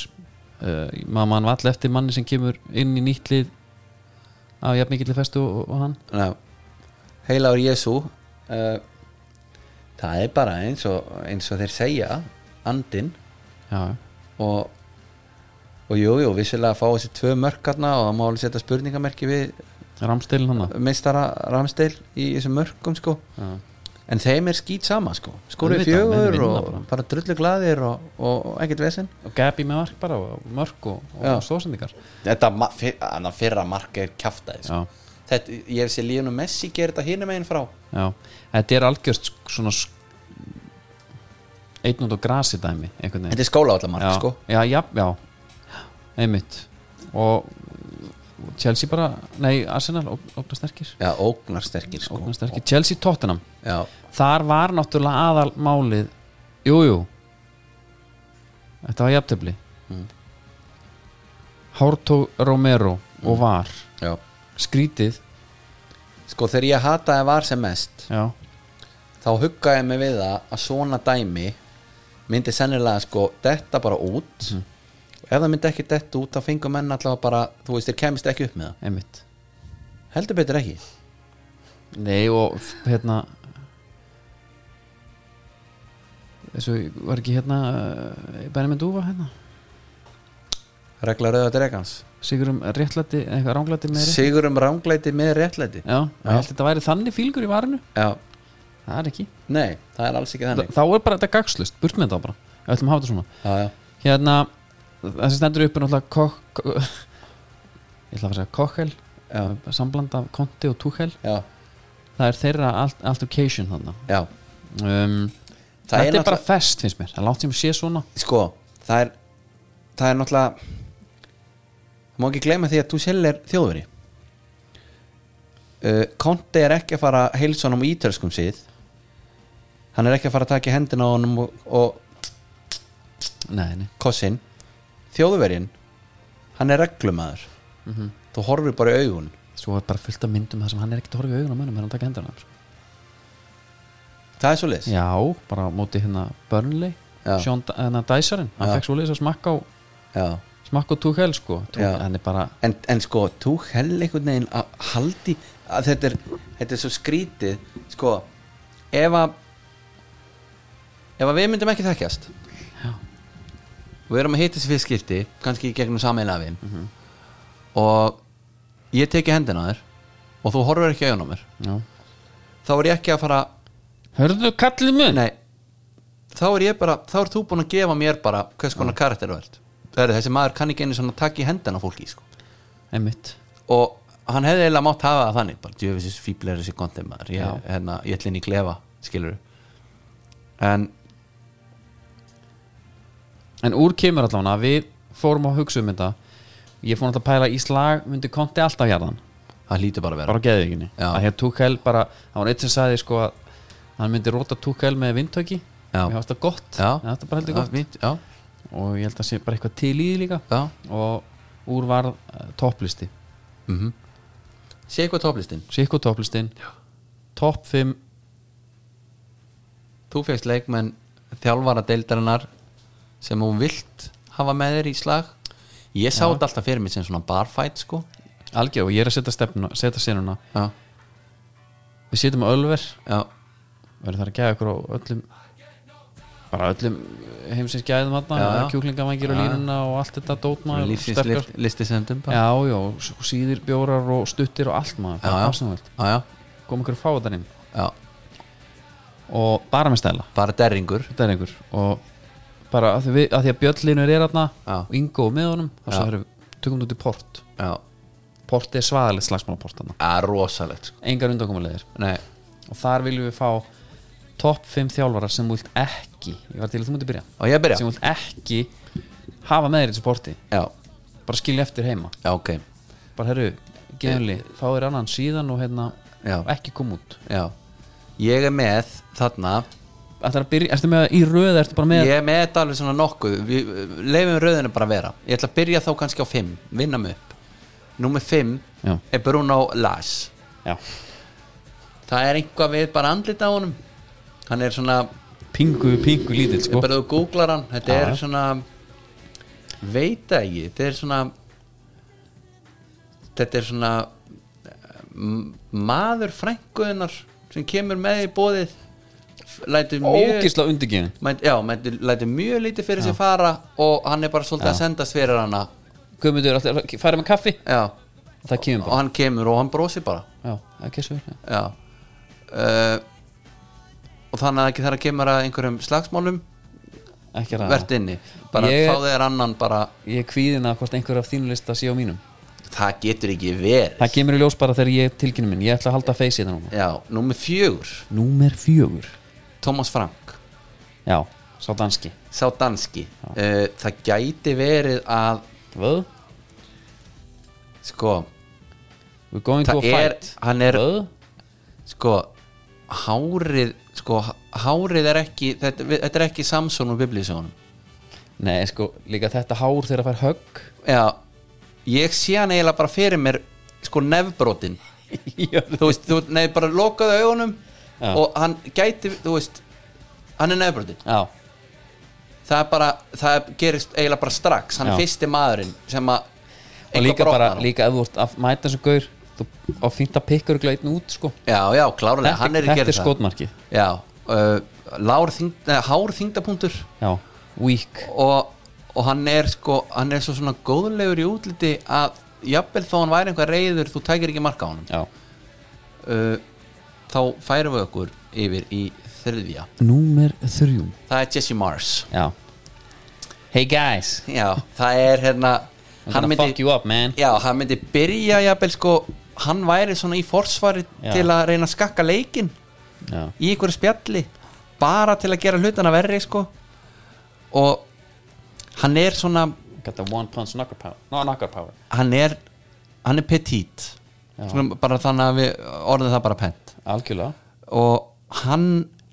uh, maður mann vall eftir manni sem kemur inn í nýtt lið af jafn mikill festu og, og hann
Ná, Heilagur Jésu uh, Það er bara eins og, eins og þeir segja Andinn
já, já.
og og jú, jú, vissulega að fá þessi tvö mörk hérna og það má alveg setja spurningamerki við
Ramstilin hann
meistara Ramsteil í þessum mörgum sko
Já.
en þeim er skýt sama sko skoruð
Auðvitað, menn
fjögur
vinna
og
bara.
bara, drullu glaðir og, og, og ekkert vesen
og Gabi með mark bara og mörg og,
Já.
og stóðsendingar
þetta ma- fyr- annað fyrra mark er kjaftaði sko.
já,
þetta, ég hef sér Líðan og Messi gera þetta hinum einn frá
já, þetta er algjörst sk- svona einn út á grasi dæmi einhvern veginn
þetta er skólaállamark
já,
sko
já, já, já, einmitt og og Chelsea bara, nei Arsenal ógn- ógna sterkir,
já, ógnarsterkir sko
ógna sterkir. Chelsea Tottenham
já,
þar var náttúrulega aðal málið jújú jú. þetta var jafntöfli mm. Horto Romero og var
já
Mm. skrítið
sko þegar ég hataði var sem mest
já,
þá huggaði ég mig við það að svona dæmi myndi sennilega sko detta bara út og ef það myndi ekki detta út þá fengur menn allavega bara þú veist þér kemist ekki upp með það
einmitt
heldur betur ekki
nei og f- hérna þessu var ekki hérna uh, Benjamin Dúfa hérna
regla rauða dregans
Sigurum réttlæti, eitthvað ránglæti með rétt
sigur um ránglæti með réttlæti
Já, ég held að þetta væri þannig fílgur í varinu
já,
Það er ekki
nei, það er alls ekki
Þa,
þannig
Þá er bara þetta gagslust, burt með þetta bara Við ætlum að hafa þetta svona
já, já,
Hérna, það sem stendur upp er náttúrulega kokk ko- *laughs* Ég ætla að fara að segja kokkel
já,
Sambland af konti og túkel
já,
Það er þeirra alt- altercation þarna
já.
um,
Það
Þetta
er
er, bara
náttúrulega-
fest finnst mér Það látt sem sé svona
sko, það er það er náttúrulega það má ekki gleyma því að þú sjálf er þjóðveri uh, Conte er ekki að fara heilsónum í ítölskum síð hann er ekki að fara að taka í hendina á honum og, og
Nei, nei
kossin þjóðverjin hann er reglumæður þú horfir bara í augun
Svo er bara fullt af myndum þar sem hann er ekkert að horfa í augun á mönnum þegar hann taka hendur á hann
það er svo leis
Já, bara á móti hérna Burnley
Já.
Sean D- hérna Dyserinn, hann
Já.
fekk svo að smakka á
Já.
smakka á Tuchel sko Tuchel,
Já.
hann er bara
en, en sko, þú hell einhvern veginn að haldi að þetta er, þetta er svo skrítið sko, ef að ef að við myndum ekki þekkjast
Já.
við erum að hitta þessi fyrst skipti kannski í gegnum sameiginlega við og ég teki hendina á þér og þú horfir ekki auðan á mér
Já.
þá er ég ekki að fara
Hörðu kallið mun
nei, þá er ég bara þá er þú búin að gefa mér bara hvers konar karakter þú ert Það er þessi maður kann ekki einu svona takk í hendina á fólki sko
Einmitt
og hann hefði eiginlega mátt hafa það þannig bara djöfisins fíblir þessi kontið maður
Já.
ég, hérna, ég ætlinn í klefa, skilur en
En úr kemur allan að við fórum að hugsa um þetta Ég fór alltaf að pæla í slag myndi konti alltaf hjarðan
það hlýtur bara að vera
bara á geðvíkinni
Já.
að hér Tuchel bara, það var eitt sem sagði sko að hann myndi róta Tuchel með vindtöki
Já.
mér fannst það gott
Já.
mér fannst það bara heldur
það,
gott
mínt, já,
og ég held að sé bara eitthvað til í því líka
já.
og úr var uh, topplisti
sé eitthvað toplistin,
Sikko topplistin topp 5
þú fegst leikmenn þjálfara deildarinnar sem hún vilt hafa með þér í slag ég sá þetta alltaf fyrir mér sem svona barfight sko
algjör og ég er að setja stefnuna setja senuna
já,
við setjum á Ölver
já,
verður það að gefa ykkur á öllum bara öllum heimsins gæðum
Já,
hann
já.
kjúklingavangir og
Já.
línuna og allt þetta dótma
lífsins listi sem dum já,
Já, já, og s- og síðir bjórar og stuttir og allt maður,
já,
bara það sem þú vilt
já, já,
kom ykkur fáðarinn
já
og bara með stæla,
bara derringur
þetta er einhver og bara að því, við, að því að bjöllinur er aðna
Já.
og Ingo og með honum og svo
Já.
erum tökum þetta út í port
já,
port er svaðalegt slagsmálaport aðna
að rosalegt sko.
engar undankomulegir
nei,
og þar viljum við fá topp 5 þjálfara sem þú vilt ekki ég var til að þú mútið byrja
og ég byrja
sem þú vilt ekki hafa með þér í þessu porti
já,
bara skilja eftir heima
já, ok
bara herru, geðunli, fá þér annan síðan og hérna,
Já.
ekki kom út
Já, ég er með þarna
Ætlar að byrja, ertu með í röð, ertu bara með
Ég er með þetta alveg svona nokkuð Við leifum rauðinu bara að vera Ég ætla að byrja þá kannski á 5, vinna mig upp Númer 5
Já.
er Bruno Lars
Já.
Það er einhvað við bara andlita á honum Hann er svona,
pingu, pingu lítill
ég
sko.
bara þú googlar hann Þetta
Já.
er svona Veit það ekki, þetta er svona Þetta er svona m- Maður frænkuðunar sem kemur með í bóðið Lætur mjög
ógisla undirgefin
Mænt, já, mænti, læti mjög lítið fyrir sér fara og hann er bara svolítið að sendast fyrir hana
Guðmundur, ætlar- farið með kaffi
já,
það kemur
og
bara
hann kemur og hann brosir bara
Já, það kissur við.
já uh, og þannig að ekki þegar að kemur að einhverjum slagsmálum
ekki ræða
verðt inni, bara
Ég-
fá þeir annan bara,
ég er kvíðin að hvort einhver af þínu lista sé á mínum
það getur ekki verið
það kemur í ljós bara þegar ég tilkynni minn ég ætla að halda að feysi þetta núna
já, númer fjögur
númer fjögur
Thomas Frank,
já, sá danski
sá danski uh, það gæti verið að
Vöð?
sko,
we're going to a
það er,
fight
hann er
Vöð?
sko hárið sko hárið er ekki þetta, við- þetta er ekki Samson og biblísjónum
nei, sko, líka þetta hár þegar það fær
*laughs*
högg
já ég sé hann eiginlega bara fyrir mér sko nefbrotin þú veist, þú, nei, bara lokaðu augunum
Já.
og hann gæti, þú veist hann er nefbrotin
já,
það er bara, það gerist eiginlega bara strax hann er
Já.
fyrsti maðurinn sem að
og
eitthvað
líka bara
brotnar á.
líka ef þú ert að mæta þessu gaur þú á fínt að pikka ykkur einn út sko
já, já, klárlega, hann
þetta,
er að
þetta
gera
er
það
skotmarki
já, uh, lár þyngd, nei, hár þyngdapunktur
já, weak
og, og hann er sko hann er svo svona góðlegur í útliti að jafnvel þó hann væri einhver reyður þú tækir ekki marka á honum
já.
uh, þá færum við okkur yfir í þriðja
Númer þrjú
það er Jesse Mars
Já Hey guys
já, það er hérna
I'm gonna fuck you up man
já, hann myndi byrja jafnvel sko hann væri svona í forsvari
Já.
til að reyna að skakka leikinn
Já,
í einhverju spjalli bara til að gera hlutana verri sko og hann er svona
got the one punch knocker power No, knocker power
hann er hann er petit
Já.
Svona bara þannig að við orðum það bara pent
Algjörlega
og hann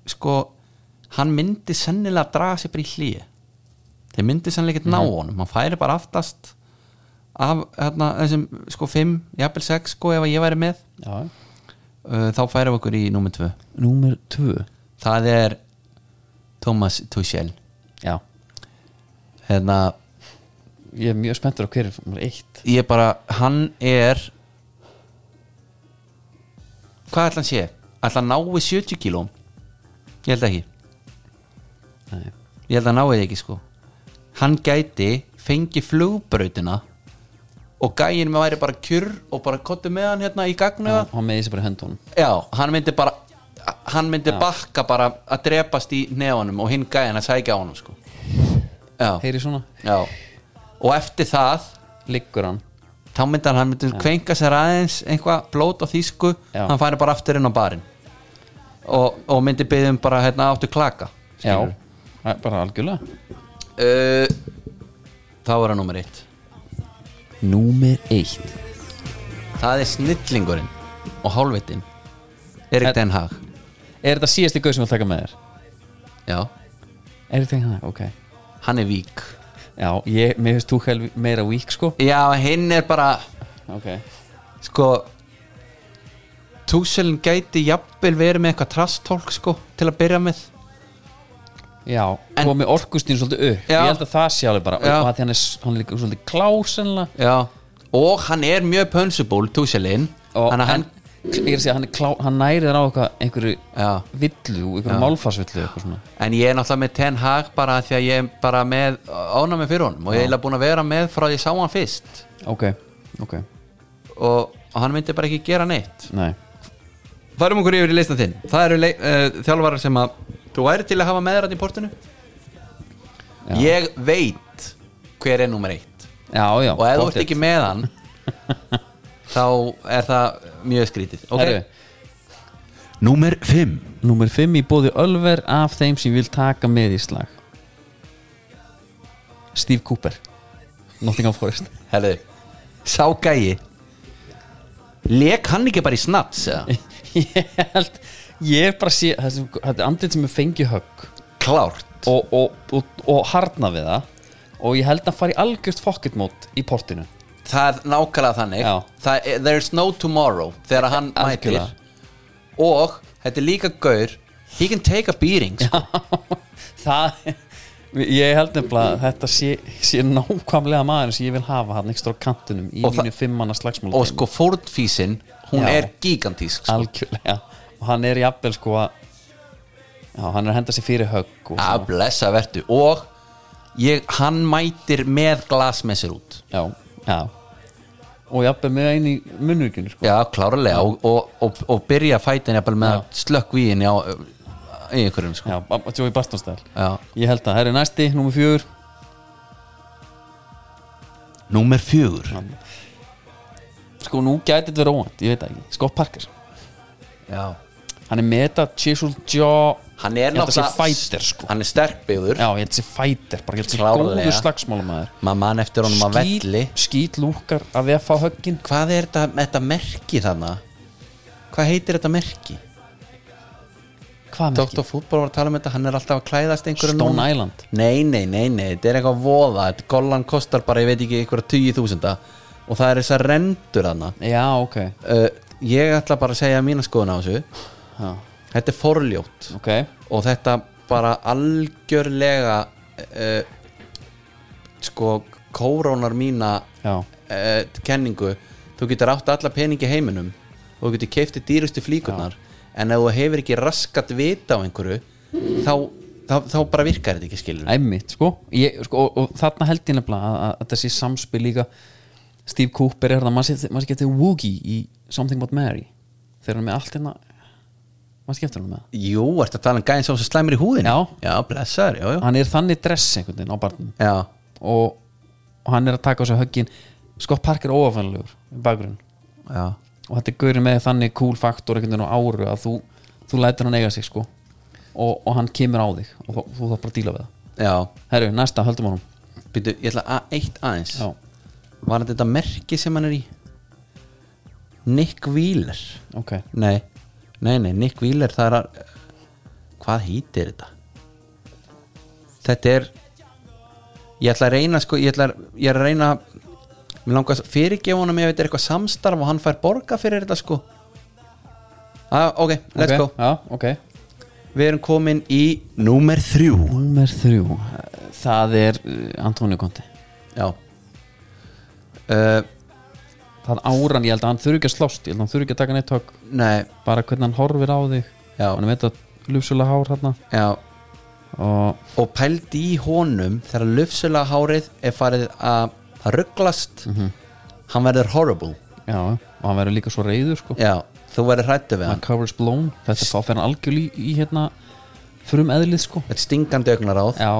sko hann myndi sennilega draga sér bara í hlýi þeir myndi sennilega ekkert ná honum hann færi bara aftast af hérna, þessum sko 5, jafnvel 6 sko ef að ég væri með
já.
uh, þá færum við okkur í númer 2
Númer 2
það er Thomas Tuchel
Já,
hérna,
ég er mjög spenntur á hver er nummer 1
ég bara, hann er hvað ætla hann sé ætla hann nái 70 kílóm ég held ekki
Nei.
ég held að hann nái því ekki sko hann gæti fengi flugbrautina og gæin með væri bara kjur og bara kottu með hann hérna í gagnu
Já, Hann með þessi bara í höndunum
já, hann myndi bara hann myndi bakka bara að drepast í nefanum og hinn gæin að sækja á honum sko já,
Heyri svona,
já og eftir það
liggur hann
þá myndi hann, hann myndi kvenka sér aðeins einhvað blót og þýsku
Já.
hann færi bara aftur inn á barinn og, og myndi byggðum bara hérna áttu klaka
Já,
skilurðu.
það er bara algjörlega
uh, þá er hann nummer eitt
Númer 1
það er snillingurinn og hálfvittin Erik
En-
Den Haag
Er þetta síðasti gauð sem þú vilt taka með þér?
já,
Er þetta ekki hann? Ok
hann er vík
Já, ég, mér finnst Túkel meira vík sko
já, hinn er bara
Ok
sko Túselin gæti jafnvel verið með eitthvað trastólk sko til að byrja með
Já,
En-
komið orkustín svolítið upp
Já.
Ég held að það sé alveg bara
Já.
Og að því hann er, s- hann er líka svolítið klár sennilega
já. og hann er mjög pönsuból Túselin
Og
þannig að hann
Ég er að segja, hann, er klá, hann nærir á eitthvað einhverju
já.
villu, einhverju málfarsvillu eitthvað svona
En ég er náttúrulega með Ten Hag bara af því að ég er bara með ánæmi fyrir honum og ég er eiginlega búin að vera með frá því að ég sá hann fyrst
Ok, ok,
og, og hann myndi bara ekki gera neitt
nei
Færum okkur yfir í listan þinn Það eru leik, uh, þjálfarar sem að þú væri til að hafa með þér í portinu
Já.
Ég veit hver er nummer eitt
Já, já
og ef þú ert
pottet.
ekki með *laughs* hann þá er það mjög skrítið okay?
Herru,
Númer 5
Númer 5 í bóði Ölver af þeim sem ég vil taka með í slag Steve Cooper Nottingham Forest *laughs*
Herðu, sá gæi Lek hann ekki bara í snaps eða?
Ég held Ég er bara að sé þessi- Þetta er andlið sem er fengið högg
*laughs* Klárt
og, og, og, og harna við það Og ég held að fara í algjörst pocket mode í portinu
það er nákvæmlega þannig
Já.
það er, there's no tomorrow þegar hann mætir
Algjörlega.
og þetta er líka gaur he can take a beating sko.
Það Ég held nefnilega að þetta sé, sé nákvæmlega maður sem ég vil hafa hann ekstra á kantunum í
Og það-
mínu fimmanna slagsmál
og sko fórnfísin hún
Já.
er gigantísk sko.
algjörlega og hann er jafnvel sko að já, hann er að henda sér fyrir högg og
að blessa vertu og ég, hann mætir með glas með sér út
já, já og jafnvel með einu í munnuginu sko
já klárlega og, og, og, og byrja fætin jafnvel með
Já.
að slökk víin á, í einhverjum sko.
já, að Joey Bartonstæl
Já.
ég held að, herri næsti, númer fjögur
Númer fjögur
sko nú gæti þetta verið óvænt, ég veit það ekki Scott Parker,
Já.
hann er meta chiseled jaw
hann er
ég held að sé
náttúrulega
fighter sko
hann er sterkbyður
já, ég held að sé fighter, bara ég held að sé
Klárlega.
góður slagsmálumæður
maður mann eftir honum að velli
skýt lúkar að við að fá höggin
hvað er þetta, þetta merki þannig hvað heitir þetta merki
hvað með
Dr. Fútbol var að tala um þetta, hann er alltaf að klæðast einhverju
Stone
núna.
Island.
nei, nei, nei, nei, þetta er eitthvað voða þetta gollan kostar bara, ég veit ekki, einhverja tugi þúsunda og það er þessar rendur þannig
já, ok,
uh, ég ætla bara að segja mína skoðun á þessu
já,
þetta er forljótt
ok
og þetta bara algjörlega uh, sko kórónar mína
já,
uh, kenningu þú getur átt alla peningi í heiminum og þú getur keiftið dýrustu flíkurnar en ef þú hefur ekki raskat vita á einhverju þá, þá, þá bara virkar þetta ekki skilur
Æmitt, sko, ég, sko og, og þarna held ég nefnilega að, að, að þessi samspil líka Steve Cooper er það maður sé- maður skiptir Woogie í Something About Mary þegar hann er með allt hérna maður skiptir hann með
Jú, ertu að tala um gæðin sem sem slæmir í húðin
Já.
já blessar, já, já
hann er þannig dress einhvern veginn á barnum
Já,
og, og hann er að taka á þessu höggin Scott Parker er óafænlegur í bakgrunn
já
og þetta er gaurið með þannig cool faktor einhvern veginn á áru að þú, þú lætur hann eiga sig sko og, og hann kemur á þig og þú, þú þarf bara að díla við það
Já,
Herru, næsta, höldum honum
býtu, ég ætla að eitt aðeins
Já,
Var þetta merki sem hann er í? Nick Wheeler
ok
Nei, nei, nei, Nick Wheeler það er að Hvað hýtir þetta? þetta er ég ætla að reyna sko, ég ætla að, ég er að reyna mér langar að fyrirgefa honum ef þetta er eitthvað samstarf og hann fær borga fyrir þetta sko ah, ok, let's
Ok,
go
Já, ok
við erum komin í númer þrjú
Númer þrjú Það er eh, Antoni Kondi
já uh,
Það áran, ég held að hann þurfi ekki að slást Ég held að hann þurfi ekki að taka neitt högg
nei,
Bara hvernig hann horfir á þig
já,
Hann er með þetta ljúfsulega hár hérna
já
Og
og pældi í honum þegar lufsulega hárið er farið að að rugglast
Mhm.
hann verður horrible
já, og hann verður líka svo reyður sko
já, þú verður hrættu við
My
hann
cover's blown Þetta þá fer hann algjör í, í hérna Frum eðlið sko
þetta er stingandi augnaráð
Já,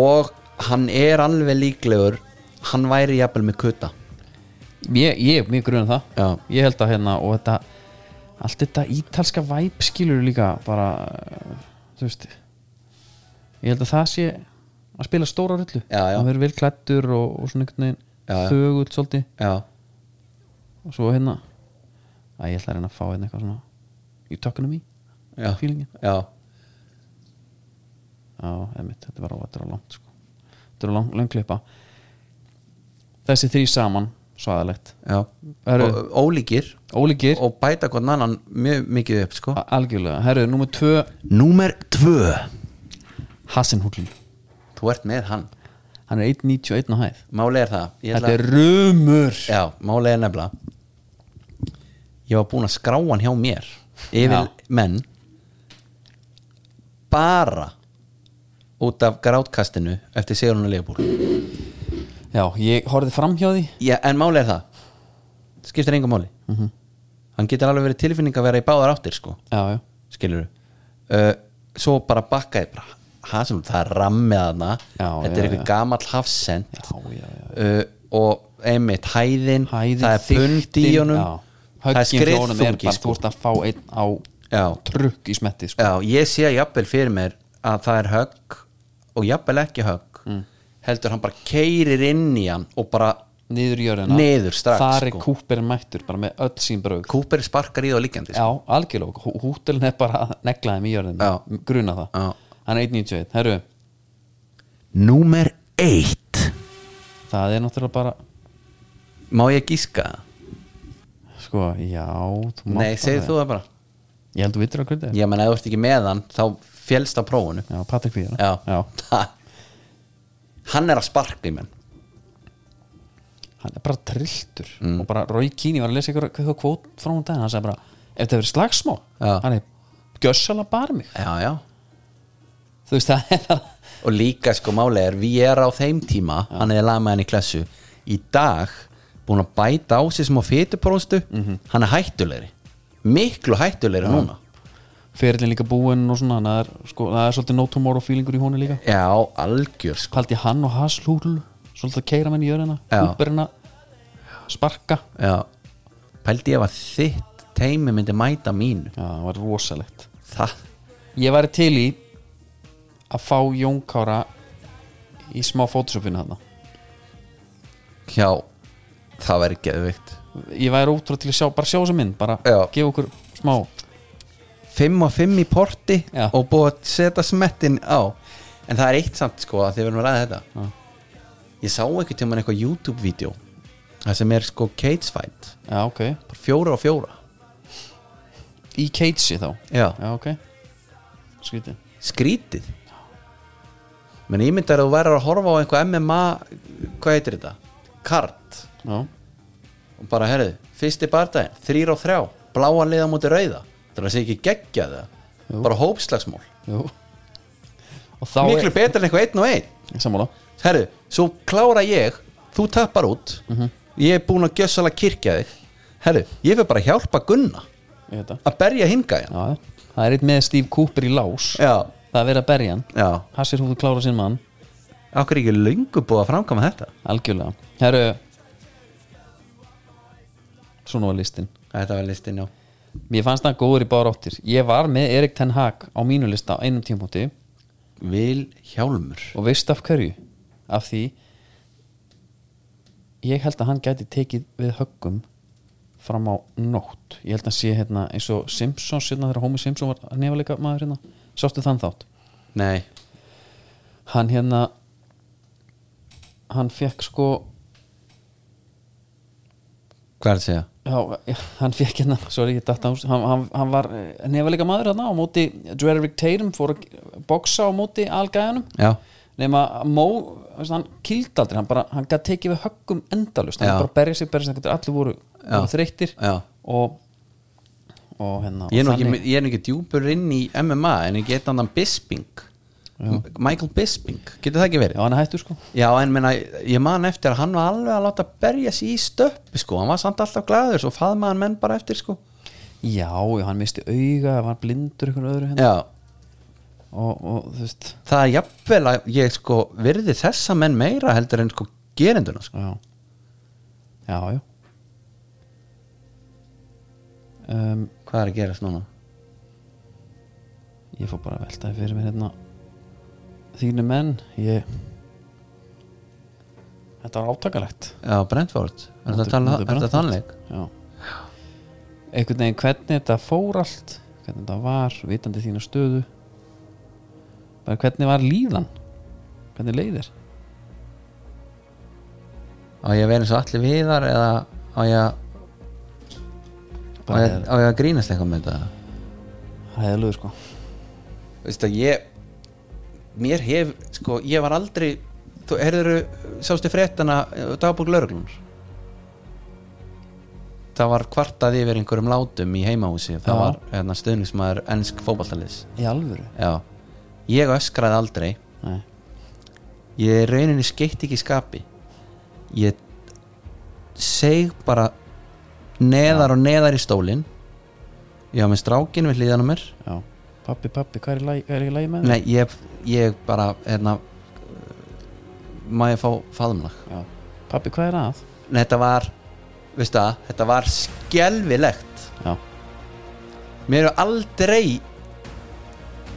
og hann er alveg líklegur hann væri jafnvel með kuta
ég, ég mjög grunum það
Já.
Ég held að hérna og þetta Allt þetta ítalska væp skilur líka Bara, þú veist Ég held að það sé Að spila stóra rullu
Já, já.
Hann verður vel klættur og, og svona einhvern
Já, já.
veginn Þögull svolítið
já,
og svo hérna að ég ætla að reyna að fá hérna eitthvað svona you talking to me
já,
feelingin
já,
já, emitt, þetta var óvættur og langt sko. þetta er lang, lang klippa þessi þrý saman svaðalegt
já.
Herru.
Og, ólíkir
ólíkir
og bæta hvernig annan mjög mikið upp sko.
a- algjörlega, herru, númer tvö
númer tvö
Hassenhullin,
þú ert með hann
hann er 1.91 á hæð
málið er það Ég
þetta
ætla-
er rumur
Já, málið er nefnilega Ég var búinn að skrá hann hjá mér Yfir
Já.
menn Bara Út af grátkastinu Eftir Sigurinn og Leifbúl
já, ég horfði fram hjá því
Já, en málið er það Skiptir engum máli
Mhm.
Hann getur alveg verið tilfinning að vera í báðar áttir sko
já, já,
Skilur uh, Svo bara bakkaði bara Hasanúl, það er rammið hana
Já,
Þetta
já,
er eitthvað
já.
gamall hafsend
já, já, já.
uh, og einmitt hæðin,
Hæðin,
það er pund í
þykktin,
honum
já.
það er
höggin frá honum er
skriðþungi
bara, þú
sko.
ert að fá einn á
já,
trukk í smetti sko.
já, ég sé jafnvel fyrir mér að það er högg og jafnvel ekki högg
Mm.
heldur hann bara keirir inn í hann og bara
niður í jörðina
Niður strax,
þar er
sko.
Cooper mættur bara með öll sín braug
Cooper sko. sparkar í það líkjandi
já, algjörlega, Hú- hútelin er bara að negla þeim í jörðina,
Já.
gruna það
Já.
hann er 1.91, herru
Númer eitt
það er náttúrulega bara,
Má ég gíska?
sko, já þú mátt
Nei,
bara
segir
það.
þú það bara
ég held að vitur að grunda
Ég menn að þú ert ekki með hann, þá félst á prófunu
já, Patrik Fíðar
Já, *laughs*
já.
Hann er að sparka í menn
hann er bara trilltur
Mm.
og bara Roy Keane, ég var að lesa ykkur eitthvað kvót frá hún daginn, hann sagði bara, ef það verið slagsmá
Já.
hann er gjössalega bara mig
Já, já
þú veist, *laughs* það er það
og líka sko máli er við erum á þeim tíma, hann er lagað með hann í klessu í dag búin að bæta á sig sem á fytupróstu hann er hættulegri, miklu hættulegri núna
fyrirlin líka búinn og svona, það er, sko, það er svolítið no tomorrow feelingur í honum líka
já, algjör sko
haldi hann og Haslúl svolítið að keira menn í jörðina
Já.
húperina sparka
já. pældi ég að þitt teimi myndi mæta mínu
já, það var rosalegt
það,
ég væri til í að fá Jón Kára í smá fótusöfinu hann
já það væri geðvikt
ég væri ótrúð til að sjá, bara sjá þessa mynd bara
Já.
gefa okkur smá
5 og 5 í porti
Já.
og búið að setja smettin á en það er eitt samt sko að þið verðum að ræða þetta ég sá eitthvað tíma eitthvað YouTube-vídeó það sem er sko cage fight
já, ok,
bara fjóra og fjóra
í Keitsi þá
já.
já, ok skrítið
skrítið menn ímyndar að þú verður að horfa á einhver MMA hvað heitir þetta? kart
já,
og bara herðu, fyrsti bardaginn, þrýr og þrjá bláan liða múti rauða það er að segja ekki geggja það
Jú.
bara hópslagsmól
jú og þá
miklu betur en eitthvað einn og einn
er sammála
herðu, svo klára ég þú tappar út ég er búin að gjössalega kirkja þig herðu, ég fyrir bara að hjálpa Gunna
ég veit það
að berja hinga hérna
já, það er eitt með Steve Cooper í lás
já,
það er verið að berja hann
já,
Hassir húðu klára sinn mann
okkur ekki löngu búið að framkama þetta
Algjörlega Herru Svona var listin
þetta var listin, já
Mér fannst það góður í bára áttir Ég var með Erik Ten Hag á mínu lista á einum tímpúti
Vil Hjálmur
Og veist af hverju Af því Ég held að hann gæti tekið við höggum Fram á nótt Ég held að sé hérna eins og Simpsons Hérna þegar Homer Simpson var nefaleika maður hérna Sástu þann þátt
Nei,
hann hérna hann fekk sko
Hvað er það að segja?
já, já, hann fekk hérna sorry, ég datt á, hann, hann, hann var nefalega maður hérna á móti Drerick Tatum fór að boksa á móti algæjanum
Já,
nema að Mó, veist, hann kildi aldrei hann, bara, hann gæti tekið við höggum endalust hann
Já.
bara berja sig, berja sig, allir voru, voru þreyttir
já
og, og hérna
Ég er nú
þannig-
ekki, ég er nú ekki djúpur inn í MMA en ég get andan Bisping M- Michael Bisping, getur það ekki verið?
já, hann er hættur sko
Já, en meina, ég man eftir að hann var alveg að láta berja sér í stöppi sko, hann var samt alltaf glæður svo faðmaðan menn bara eftir sko
já, já, hann misti auga, hann var blindur ykkur öðru hérna
Já,
og, og þú veist
það er jafnvel að ég sko virði þessa menn meira heldur en sko gerenduna sko.
já, já, já. Um,
hvað er að gerast núna
ég fór bara að veltaði fyrir mér hérna þínu menn ég þetta var átakalegt
já, Brentford, er
Móti-
þetta tala
móti
er þetta
Brentford.
þannleik
já einhvern veginn hvernig þetta fór allt hvernig þetta var, vitandi þína stöðu bara hvernig var líðan hvernig leiðir
á ég að vera eins og allir viðar eða á ég að á
bara
ég, á ég að grínast eitthvað með þetta
hæðalögur sko
veist að ég mér hef, sko, ég var aldrei þú erður, sástu fréttana uh, dagbúk lauruglunar það var kvartað yfir einhverjum látum í heimahúsi það
Já.
var hérna, stöðningsmaður ennsk fótballtaliðs
í alvöru
Já, ég öskraði aldrei
Nei.
Ég rauninni skeitt ekki í skapi Ég seg bara neðar og neðar í stólinn Ég var með strákin við hliðan á mér
já. pappi pappi, hvað er, í lagi- hvað er ekki lægi með
Nei, ég, ég bara hérna, Má ég fá faðumlag
Já. pappi, hvað er að
Nei, þetta var Veistu það, þetta var skelfilegt
já,
Mér eru aldrei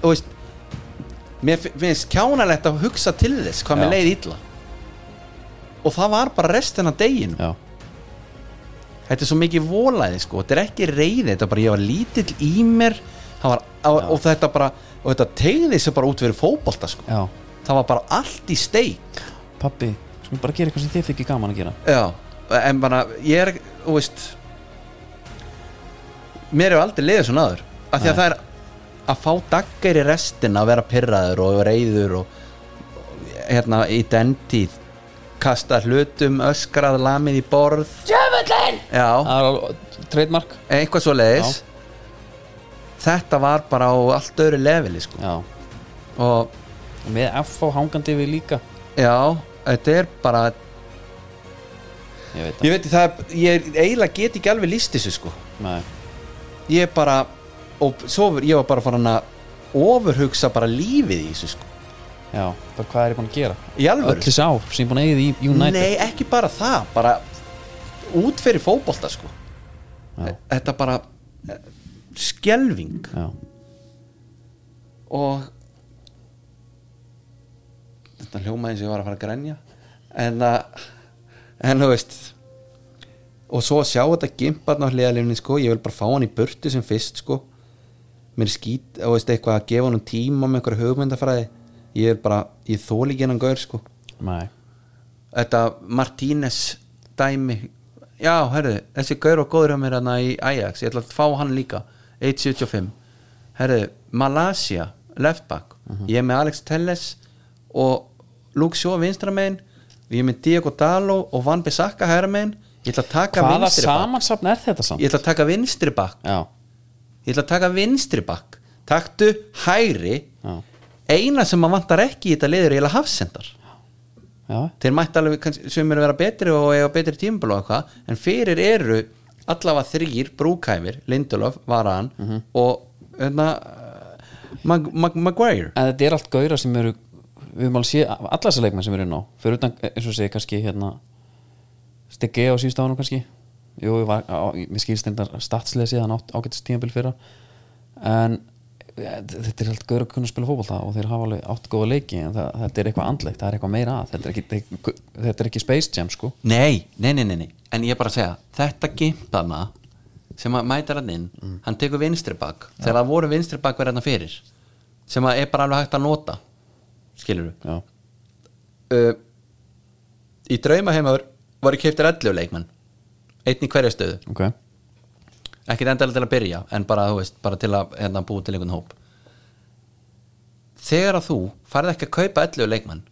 Þú veist Mér fi- finnst kjánalegt að hugsa til þess Hvað
Já.
mér leið illa Og það var bara restina deginu
já,
Þetta er svo mikið volaði sko Þetta er ekki reyði, þetta er bara ég var lítill í mér Það var, á, og þetta bara Og þetta tegði sig bara út fyrir fótbolta sko
já
Það var bara allt í steik
pappi, skulum bara gera eitthvað sem þið fikk í gaman að gera
Já, en bara ég er, þú veist Mér hefur aldrei liðið svona aður Af því að það er að fá daggar í restin að vera pirraður og reyður og og, hérna í dentíð kasta hlutum, öskrað, lamið í borð Sjöfullin! Já,
það er alveg, trademark
eitthvað svo leiðis Þetta var bara á allt öðru leveli sko
já,
og
með FH hangandi við líka
já, þetta er bara
ég veit það,
ég veit það, er- ég eiginlega get ekki alveg líst þessu sko
Nei.
ég bara og svo ég var bara farin að ofurhugsa bara lífið í þessu sko
já, bara hvað er ég búin að gera
í alvöru sko.
öllis ár sem ég búin að eigið í United
nei ekki bara það bara út fyrir fótbolta sko
Já.
þetta bara eh, skelving
Já,
og þetta hljóma eins og ég var að fara að grenja en að en þú veist og svo að sjá þetta gimparn á hliðalifni sko, ég vil bara fá hann í burtu sem fyrst sko mér er skýt, þú veist, eitthvað að gefa hann tíma með einhverja hugmyndafræði ég er bara, ég þóli ekki hennan gaur sko
nei,
þetta Martínez dæmi já, herðu, þessi gaur og góður hjá mér hann í Ajax, ég ætla að fá hann líka 1.75 herðu, Malaysia, left back
Mhm.
ég er með Alex Telles og Luke Shaw vinstra megin ég er með Diego Dalo og Van Bissaka hæra megin, ég ætla að taka
hvaða
vinstri bak
samansapn er þetta samt?
ég ætla að taka vinstri bak
Já,
ég ætla að taka vinstri bak taktu hægri
já,
eina sem maður vantar ekki í þetta liður er eiginlega hafsendar
já,
þeir mætti alveg kannski- sumir að vera betri og eiga betri tímabil og eitthvað en fyrir eru allavega þrýr brúkæfir, Lindelof, Varan og hérna Mag Mag Maguire
en þetta er allt gauðra sem eru við höfum alveg sé allar þessar leikmenn sem eru inn á fyrir utan, eins og segir kannski hérna Stegge á síðust ánum kannski jú, ég var, á, mér skilst þetta statslega síðan ágættist tímabil fyrra en eh, þetta er allt gauðra að kunna spila fótbolta og þeir hafa alveg átt góða leiki en það, þetta er eitthvað andlegt, það er eitthvað meira að þetta er ekki, þetta er ekki Space Jam sko
nei, nei, nei, nei, nei, en ég er bara að segja þetta gimpana sem að mæta hann inn, hann tekur hérna vinstri bak þegar það voru vinstri bak verið hann fyrir sem að er bara alveg hægt að nota skilur við
já,
uh, í draumaheimar var ég keiptir 11 leikmann einn í hverja stöðu,
ok
ekkert endalega til að byrja en bara, þú veist, bara til að hérna, búi til einhvern hóp þegar að þú farið ekki að kaupa 11 leikmann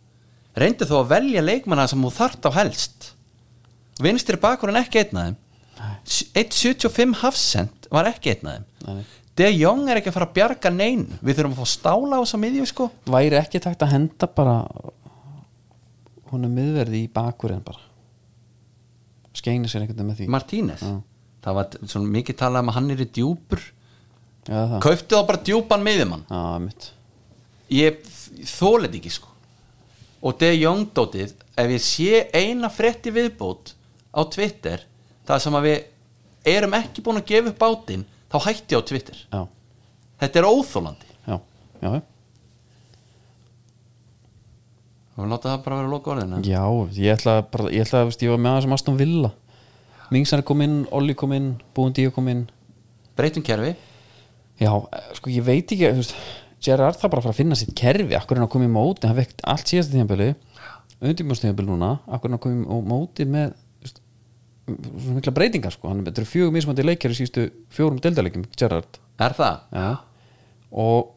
reyndu þú að velja leikmanna sem þú þart á helst vinstri bakurinn ekki einn af þeim 1.75 hafsend var ekki einn af þeim
Nei.
De Jong er ekki að fara að bjarga nein við þurfum að fá stála á þessa miðju sko
væri ekki takt að henda bara hún er miðverði í bakurinn bara skeina sér einhvern veginn með því
Martínez
Já.
það var svona mikið talað um að hann er í djúpur
já, það,
kauftu þá bara djúpan miðjumann
já, mitt
ég þólið ekki sko og De Jong dótið ef ég sé eina frétti viðbót á Twitter það sem að við erum ekki búin að gefa upp bátinn þá hætti ég á Twitter
já,
þetta er óþólandi
já, já, já.
og við láta það bara vera hérna. að loka orðina
já ég ætla bara, ég ætla að veist, ég var með það sem Aston Villa Mingsar kom inn, Olli kom inn Búndi kom inn
breytum kerfi
já, eh, sko ég veit ekki þú veist, Gerard það bara að fara að finna sitt kerfi akkur en að koma í móti, hann vekt allt síðasta tíðanbili undirbjörnstíðanbili núna akkur en að koma í móti með þú veist, svona mikla breytingar sko hann betur fjögum mismandi leikjari sístu fjórum deildaleikjum Gerard
er það?
já. og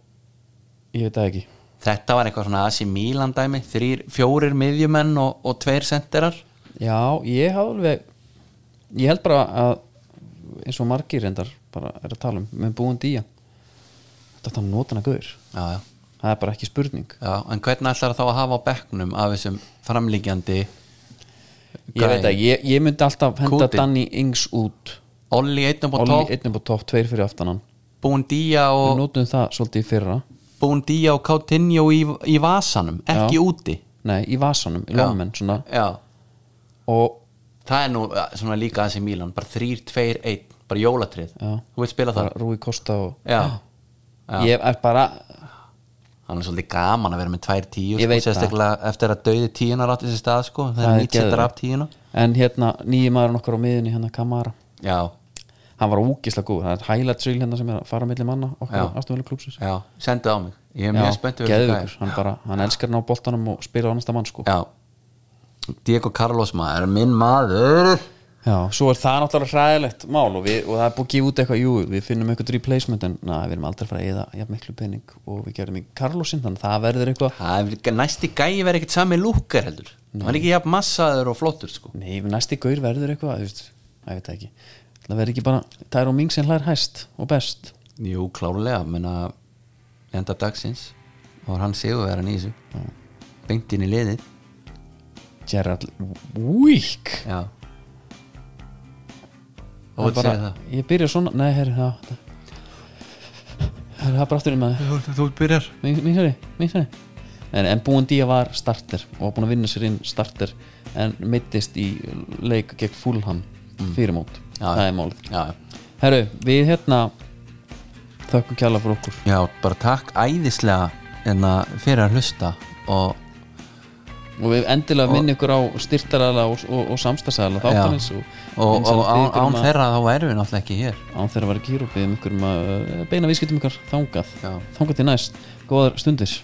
ég veit það ekki
þetta var eitthvað svona Asi Milan dæmi þrír, fjórir miðjumenn og, og tveir senderar
já, ég hafði alveg ég held bara að eins og margir reyndar bara er að tala um með búin dýja þetta er nótana gaur
já, já.
það er bara ekki spurning
já, en hvernig ætlar þá að hafa á bekknum af þessum framlíkjandi
ég veit ekki, ég, ég myndi alltaf henda
Kúti.
Danny Ings út
Olli einn upp á
Olli Mhm.
tók
einnum á topp, tveir fyrir aftanan
búin dýja
við
og
notum það svolítið í fyrra
búin dýja og Coutinho í, í vasanum ekki
Já.
úti
nei, í vasanum, í lómen svona
já.
og
það er nú eh, svona líka þessi Mílan bara þrýr, tveir, einn, bara jólatrið
Já.
þú veit spila
bara
það
Rúi Kosta og
já.
ég er bara
hann er svolítið gaman að vera með tvær tíu
Ég
sko,
veit það.
sérstaklega eftir að dauði tíunar átti þessi stað sko, það
það
er
er
nýtt setur
geðveikt.
af tíuna
en hérna nýji maðurinn okkar á miðinni hérna Kamara
já,
hann var ógislega góð, það er highlight reel hérna sem er að fara á milli manna okkar
Já.
aftunvelu klúpsins
já, sendið á mig ég er mjög spenntið
geðvikur, hann bara, hann elskar hann á boltanum og spila á annasta mann sko já.
já Diego Carlos maður, minn maður
svo er það náttúrulega hræðilegt mál og, við, og það er búið að gefa út eitthvað, jú, við finnum eitthvað replacement en na, við erum aldrei að fara að eða jafn miklu pening og við gerum í Karlosinn, þannig að það verður eitthvað
það er næsti gæi verið ekkert sami lúkar heldur hann er ekki jafn massaður og flottur sko
nei, næsti gaur verður eitthvað, þú veist, það veit það ekki það verður ekki bara, það er á ming sem hlær hæst og best,
Jú, klárlega, menna enda dagsins þá var hann sigurverðan í þessu beint inn í liðið
Gerard Week
Já
Það
og
er
þú segir
bara,
það
ég byrja svona, nei, herri, það herri, það er bara aftur um að
Þú byrjar
Mingsari, mingsari En, en búin díja var starter og var búin að vinna sér inn starter en meittist í leik gegn Fulham fyrir mót,
Mm. Já,
það
já.
er málið
já,
Herru, við hérna þökkum kjalla fyrir okkur
já, bara takk æðislega en að fyrir að hlusta og
og við endilega minni ykkur á styrtarala og, og, og samstagsala
Já.
þáttanins og,
og, og án, án
þeirra
þeirra þá erum við náttúrulega ekki hér
um án þeirra var ekki hér og við um ykkur um að uh, beina viðskiptum ykkar þangað
Já.
þangað til næst, góðar stundir